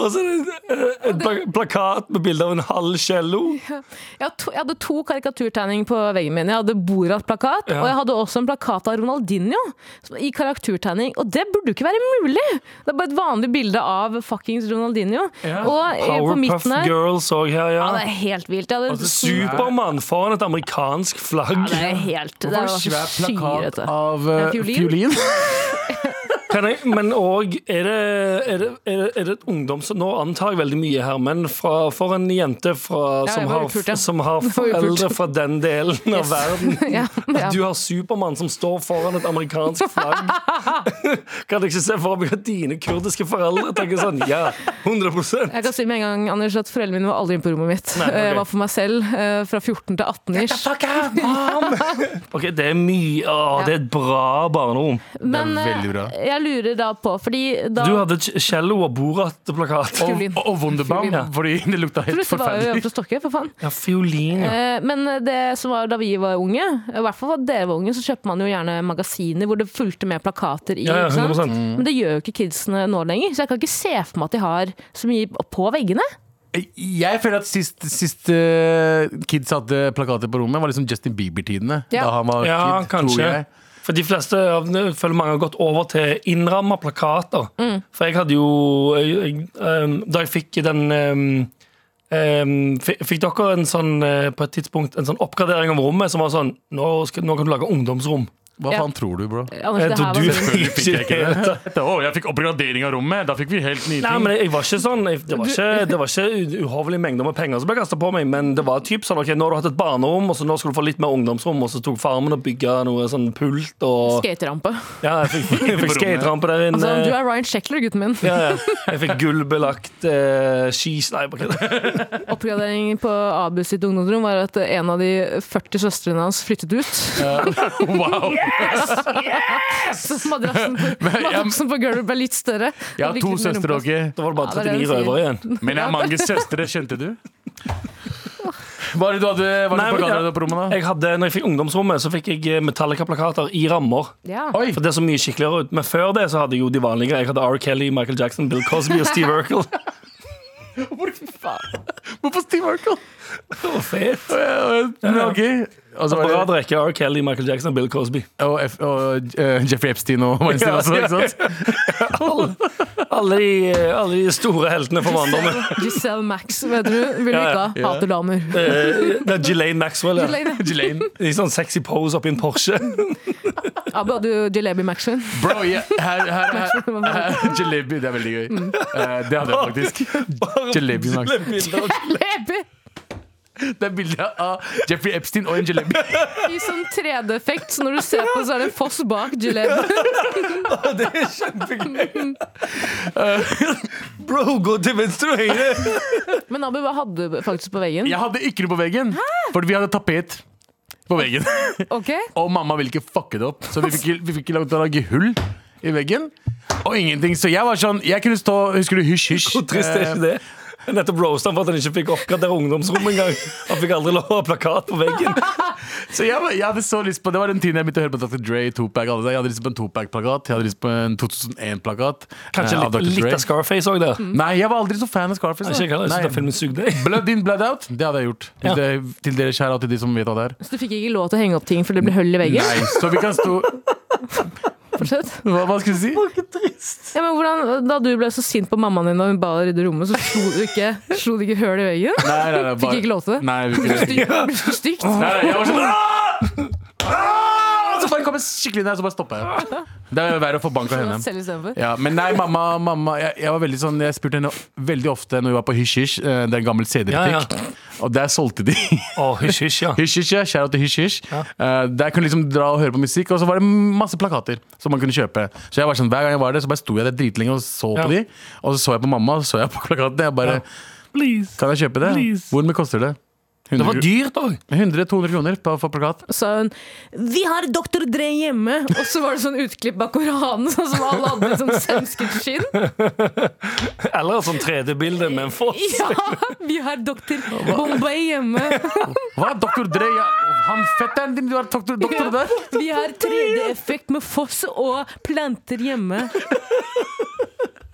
Og så er det en, en pla- plakat med bilde av en halv cello.
Jeg, hadde to, jeg hadde to karikaturtegninger på veggen min. Jeg hadde Borat-plakat, og jeg hadde også en plakat av Ronaldinho som- i karaktertegning. Og det burde jo ikke være mulig! Det er bare et vanlig bilde av fuckings Ronaldinho. Og eh, på
Powerpuff Altså,
midten her
Girls òg her, ja.
ja, det er helt vilt. Jeg hadde,
Supermann foran et amerikansk
ja,
flagg.
det er helt Det
Hva
var
er
så
svær plakat
skyrete.
av eh,
En fiolin?
fiolin?
Kan jeg, men òg er, det- er, det- er, det- er det et ungdom som Nå antar jeg veldig mye her, men fra, for en jente fra,
Ja,
som,
det var
har,
upult, ja.
som har
var upult.
foreldre fra den delen av
Yes.
verden
Ja, ja.
At du har Supermann som står foran et amerikansk flagg. kan jeg ikke se for meg at dine kurdiske foreldre tenker sånn Ja, 100
Jeg kan si med en gang Anders, at foreldrene mine var aldri inne på rommet mitt.
Nei, ok.
Jeg var for meg selv eh, fra 14 til 18 ish.
Fuck out, mom! Ok, Det er mye Å, det er et bra barnerom.
Men
Det er
eh,
veldig bra.
jeg jeg lurer da på Fordi da
Du hadde Ch- Cello og Borat-plakat.
Og,
Fiolin.
og Wunderbaum,
Fiolin.
fordi det lukta helt
Plutselig var jo
forferdelig.
fra Stokke, for faen.
Ja, fiolin, ja.
Eh, Men det som var da vi var unge, i hvert fall da dere var unge, så kjøpte man jo gjerne magasiner hvor det fulgte med plakater i.
Ja, ja,
ikke sant?
100%.
Mm.
Men det gjør jo ikke kidsene nå lenger, så jeg kan ikke se for meg at de har så mye på veggene.
Jeg føler at sist, sist eh, kids hadde plakater på rommet, var liksom Justin Bieber-tidene.
Ja.
Da han var
Ja,
kid, tror
kanskje.
jeg.
For de fleste av jeg føler mange har gått over til innramma plakater.
Mm.
For jeg hadde jo jeg, jeg, um, Da jeg fikk den um, um, Fikk fikk dere en sånn uh, på et tidspunkt en sånn oppgradering av rommet som var sånn Nå, skal, nå kan du lage ungdomsrom.
Hva
Ja.
faen tror du, bro?
Anders,
Jeg
det her
tror
var
Eh, du
sånn-
Selvfølgelig fikk jeg ikke
Ikke
det. Da, å, jeg fikk oppgradering av rommet. Da fikk vi helt nye
Nei,
ting.
men jeg, jeg var ikke sånn jeg, Det var ikke, det var ikke uhorvelige mengder med penger som ble kasta på meg, men det var typ sånn ok, nå har du hatt et barnerom, og så nå skal du få litt mer ungdomsrom, og så tok farmen og bygga noe sånn pult og
Skaterampe.
Ja, jeg fikk, jeg fikk skaterampe der inne.
Altså, du er Ryan Sheckler, gutten min.
eh, Ja, ja. Jeg fikk gullbelagt eh, skis... Nei, bare kødder.
Oppgraderingen på Abu sitt ungdomsrom var at en av de 40 søstrene hans flyttet ut.
Wow.
Så madrassen på,
Men jeg-
madrassen på gulvet ble litt større.
Jeg har
Og
to
likte den
søstre,
rumpa.
Åge.
Da var det
Ja,
bare
det er det
39
jeg sier.
røvere igjen.
Men jeg har mange søstre, skjønte du? Hva er det du hadde hva er det
Nei,
du
men
plakater
jeg-
på rommet, da?
Jeg hadde, når jeg fikk ungdomsrommet, så fikk jeg eh, Metallica-plakater i rammer.
Ja.
Oi!
For det så mye skikkeligere ut. Men før det så hadde jeg jo de vanlige. Jeg hadde R. Kelly, Michael Jackson, Bill Cosby og Steve Urkel.
Hvorfor Steve Urkel?
Fett.
Men ok. Og så var
Bra
det
drikke. R. Kelly, Michael Jackson, Bill Cosby.
og, F, og eh, Jeffrey Epstein og Weinstein
Ja,
også, ikke sant?
Alle de, eh, alle de store heltene fra barndommen.
Giselle Max, vet du. Vil du
Ja,
ikke
ja.
ha? Hater damer.
Eh, Det er Ghislaine Maxwell, ja.
Ghislaine.
Ghislaine. I sånn sexy pose oppi en Porsche.
Abu hadde jo Jalebi Maxwell.
Bro, jeg- her, her, her, her Jalebi, det er veldig gøy.
Mm.
Eh, det hadde jeg faktisk. Jalebi Max.
Bilder av-
Jalebi!
Det er bilde av Jeffrey Epstein og en jalebi.
I sånn 3D-effekt, så når du ser på, så er det en foss bak Jalebi.
Det er kjempegøy. Bro, gå til venstre og høyre.
Men Abu, hva hadde du faktisk på veggen?
Jeg hadde ikke noe på veggen, fordi vi hadde tapet på veggen.
Ok?
Og mamma ville ikke fucke det opp, så vi fikk, ikke- vi fikk ikke lov til å lage hull i veggen. Og ingenting, så jeg var sånn Jeg kunne stå Husker du Hysj, hysj? Eh,
Hvor trist er ikke det? Jeg Nettopp roasta han for at han ikke fikk oppgradere ungdomsrommet engang. Han fikk aldri lov å ha plakat på veggen.
Så jeg, var- jeg hadde så lyst på Det var den tiden jeg begynte å høre på Dr. Dre, Tupac alle det. Jeg hadde lyst på en Tupac-plakat, jeg hadde lyst på en 2001-plakat.
Kanskje litt, litt av Scarface òg der.
Nei, jeg var aldri så fan av Scarface. da.
Ikke jeg heller, jeg synes den
Nei.
filmen sugde.
Blood in, blood out, det hadde jeg gjort. Til,
Ja.
det, til dere kjære og til de som vet hva det er.
Så du fikk ikke lov til å henge opp ting fordi det ble hull i veggen?
Nei, så vi kan stå
Fortsett.
Hva, hva skulle du si?
Ja, men hvordan, da du ble så sint på mammaen din da hun ba deg rydde rommet, så slo du ikke, slo du ikke hull i veggen?
Nei, nei, nei,
Fikk ikke lov til det?
Nei, vi fikk ikke-
Stygt. Det ble så stygt.
Nei, nei, jeg var sånn «Aah! Aah!» Og Så bare kom jeg skikkelig ned, så bare stoppa jeg. Det er jo verre å få bank av
Det var
henne.
Selv istedenfor.
Ja, men nei, mamma, mamma jeg, jeg var veldig sånn Jeg spurte henne veldig ofte når vi var på Hysj Hysj, eh, det er en gammel
Ja,
CD-butikk, og der solgte de
Å, hysj, hysj, ja.
Hysj Hysj. ja, Shout out til Hysj Hysj. Eh, der kunne du liksom dra og høre på musikk, og så var det masse plakater som man kunne kjøpe. Så jeg var sånn, hver gang jeg var der, så bare sto jeg der dritlenge og så
Ja.
på de, og så så jeg på mamma, og så så jeg på plakatene. Jeg bare
Please.
Kan jeg kjøpe det?
Please.
Hvor mye koster det?
Det var
100
dyrt òg.
100-200 kroner på- for plakat.
Og sa hun 'Vi har Dr. Dre hjemme', og så var det sånn utklipp av Koranen, sånn som alle hadde i sånn sømsket skinn.
Eller et sånt 3D-bilde med en foss.
Ja, vi har Dr. Bombay hjemme.
Hva? Doktor Dre? Ja, han fetteren din, du er doktor, doktor der?
Vi har 3D-effekt med foss og planter hjemme.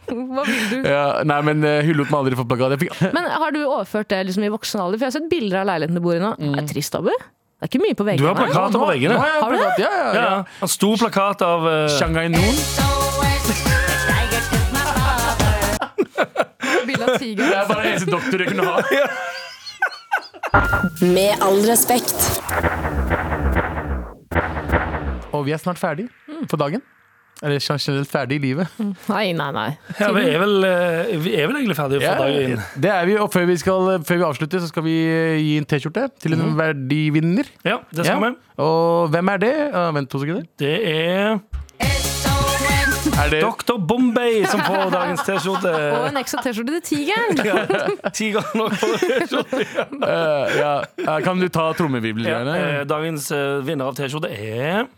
Hva vil du?
Ja, nei, men uh, hun lot meg aldri få plakat. Jeg fikk
Men har du overført det liksom i voksen alder? For jeg har sett bilder av leiligheten du bor i nå. Det er trist, Abu. Det er ikke mye på
Du har
veggene.
plakat på veggene.
Nå har jeg
Har du
plakat, Ja, ja,
Ja,
ja.
ja. En stor plakat av eh,
Shanghai Noon.
Bilde av tiger.
Det er bare eneste doktor jeg kunne ha.
Med all respekt.
Og vi er snart ferdig for dagen. Eller generelt ferdig i livet.
Nei, nei, nei.
ja, vi, er vel, eh, vi er vel egentlig ferdige for dagen.
det er vi, og før vi, skal, før vi avslutter, så skal vi eh, gi en T-skjorte til en verdivinner.
Ja, det skal
Ja.
vi.
Og hvem er det? Eh, vent to sekunder.
Det er
Er det
Dr. Bombay som får dagens T-skjorte.
Og en ekstra T-skjorte til tigeren.
Ti ganger nok for T-skjorte.
Eh, ja. Eh, Kan du ta trommevibelgreiene?
Eh, Dagens eh, vinner av T-skjorte er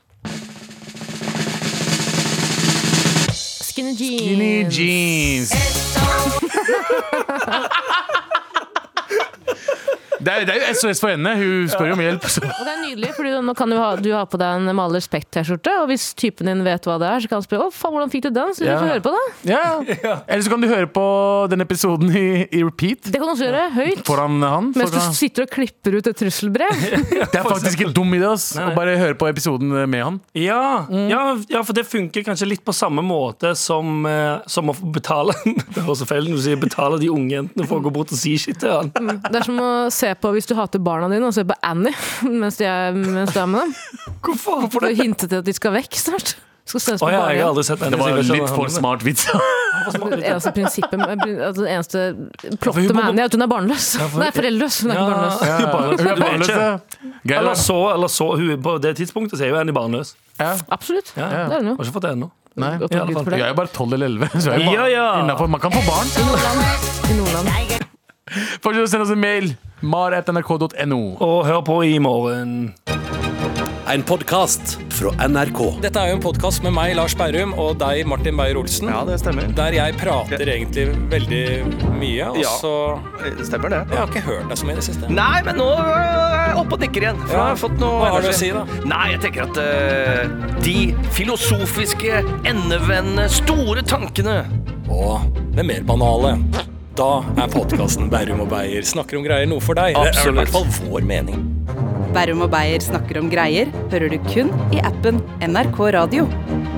Skinny jeans.
Skinny jeans. Det er, det er jo SOS for henne. Hun spør jo om hjelp. Så.
Og det er nydelig, for nå kan du ha, du har på deg en Maler Spekt-T-skjorte, og hvis typen din vet hva det er, så kan han spørre 'Å, faen, hvordan fikk du den?' Så du
Ja.
får høre på det.
Ja. Eller så kan du høre på den episoden i, i repeat
Det kan du også gjøre høyt.
foran han. Så
Mens du
kan,
sitter og klipper ut et trusselbrev.
det er faktisk ikke dum idé ass,
Nei, nei.
å bare høre på episoden med han.
Ja, ja, ja, for det funker kanskje litt på samme måte som, eh, som å få betale Det høres så feil ut når du sier betale de unge jentene for å gå bort og si shit til han.
mm, Det er som å se på hvis du hater barna dine, og se på Annie mens, de er, mens du er med dem.
Hvorfor?
For å hinte til at de skal vekk snart. Skal sendes
Å
på
ja, jeg har
barnehjem.
aldri sett
Det
henne.
var
så jeg vet ikke
litt
hva
for
det
smart vits.
handler om.
Det eneste prinsippet med- altså Det eneste
hun
plottet
må-
med Annie er at hun er barnløs.
for-
Nei, foreldreløs. Hun er ikke barnløs.
Ja, barnløs.
Hun er
Du vet
barnløs.
ikke.
ja. Geir,
Eller
da.
så, eller så hun, er- På det tidspunktet så er jo Annie barnløs.
Ja.
Absolutt.
Ja.
Det er hun jo.
Har ikke fått det ennå.
Nei.
Godt å
i alle
Gud for
Jeg
det.
er jo bare 12 eller 11, så jeg er jo
Ja,
bare
ja.
innenfor. Man kan få barn.
I Nordland.
Fortsett å sende oss en mail. mar.nrk.no.
Og hør på i morgen.
En podkast fra NRK.
Dette er jo en podkast med meg, Lars Berrum, og deg, Martin Beyer-Olsen.
Ja, det stemmer.
Der jeg prater egentlig veldig mye, og
Ja.
så
Det stemmer det.
Jeg har ikke hørt deg så mye i det siste.
Nei, men nå øh, er jeg oppe og nikker igjen. For
Ja.
jeg har fått noe
Hva har du å
energi.
si, da?
Nei, jeg tenker at øh, de filosofiske, endevendende, store tankene
Og det mer banale. Da er podkasten Berrum og Beyer snakker om greier noe for deg.
Absolutt.
Det er i hvert fall vår mening.
Berrum og Beyer snakker om greier hører du kun i appen NRK Radio.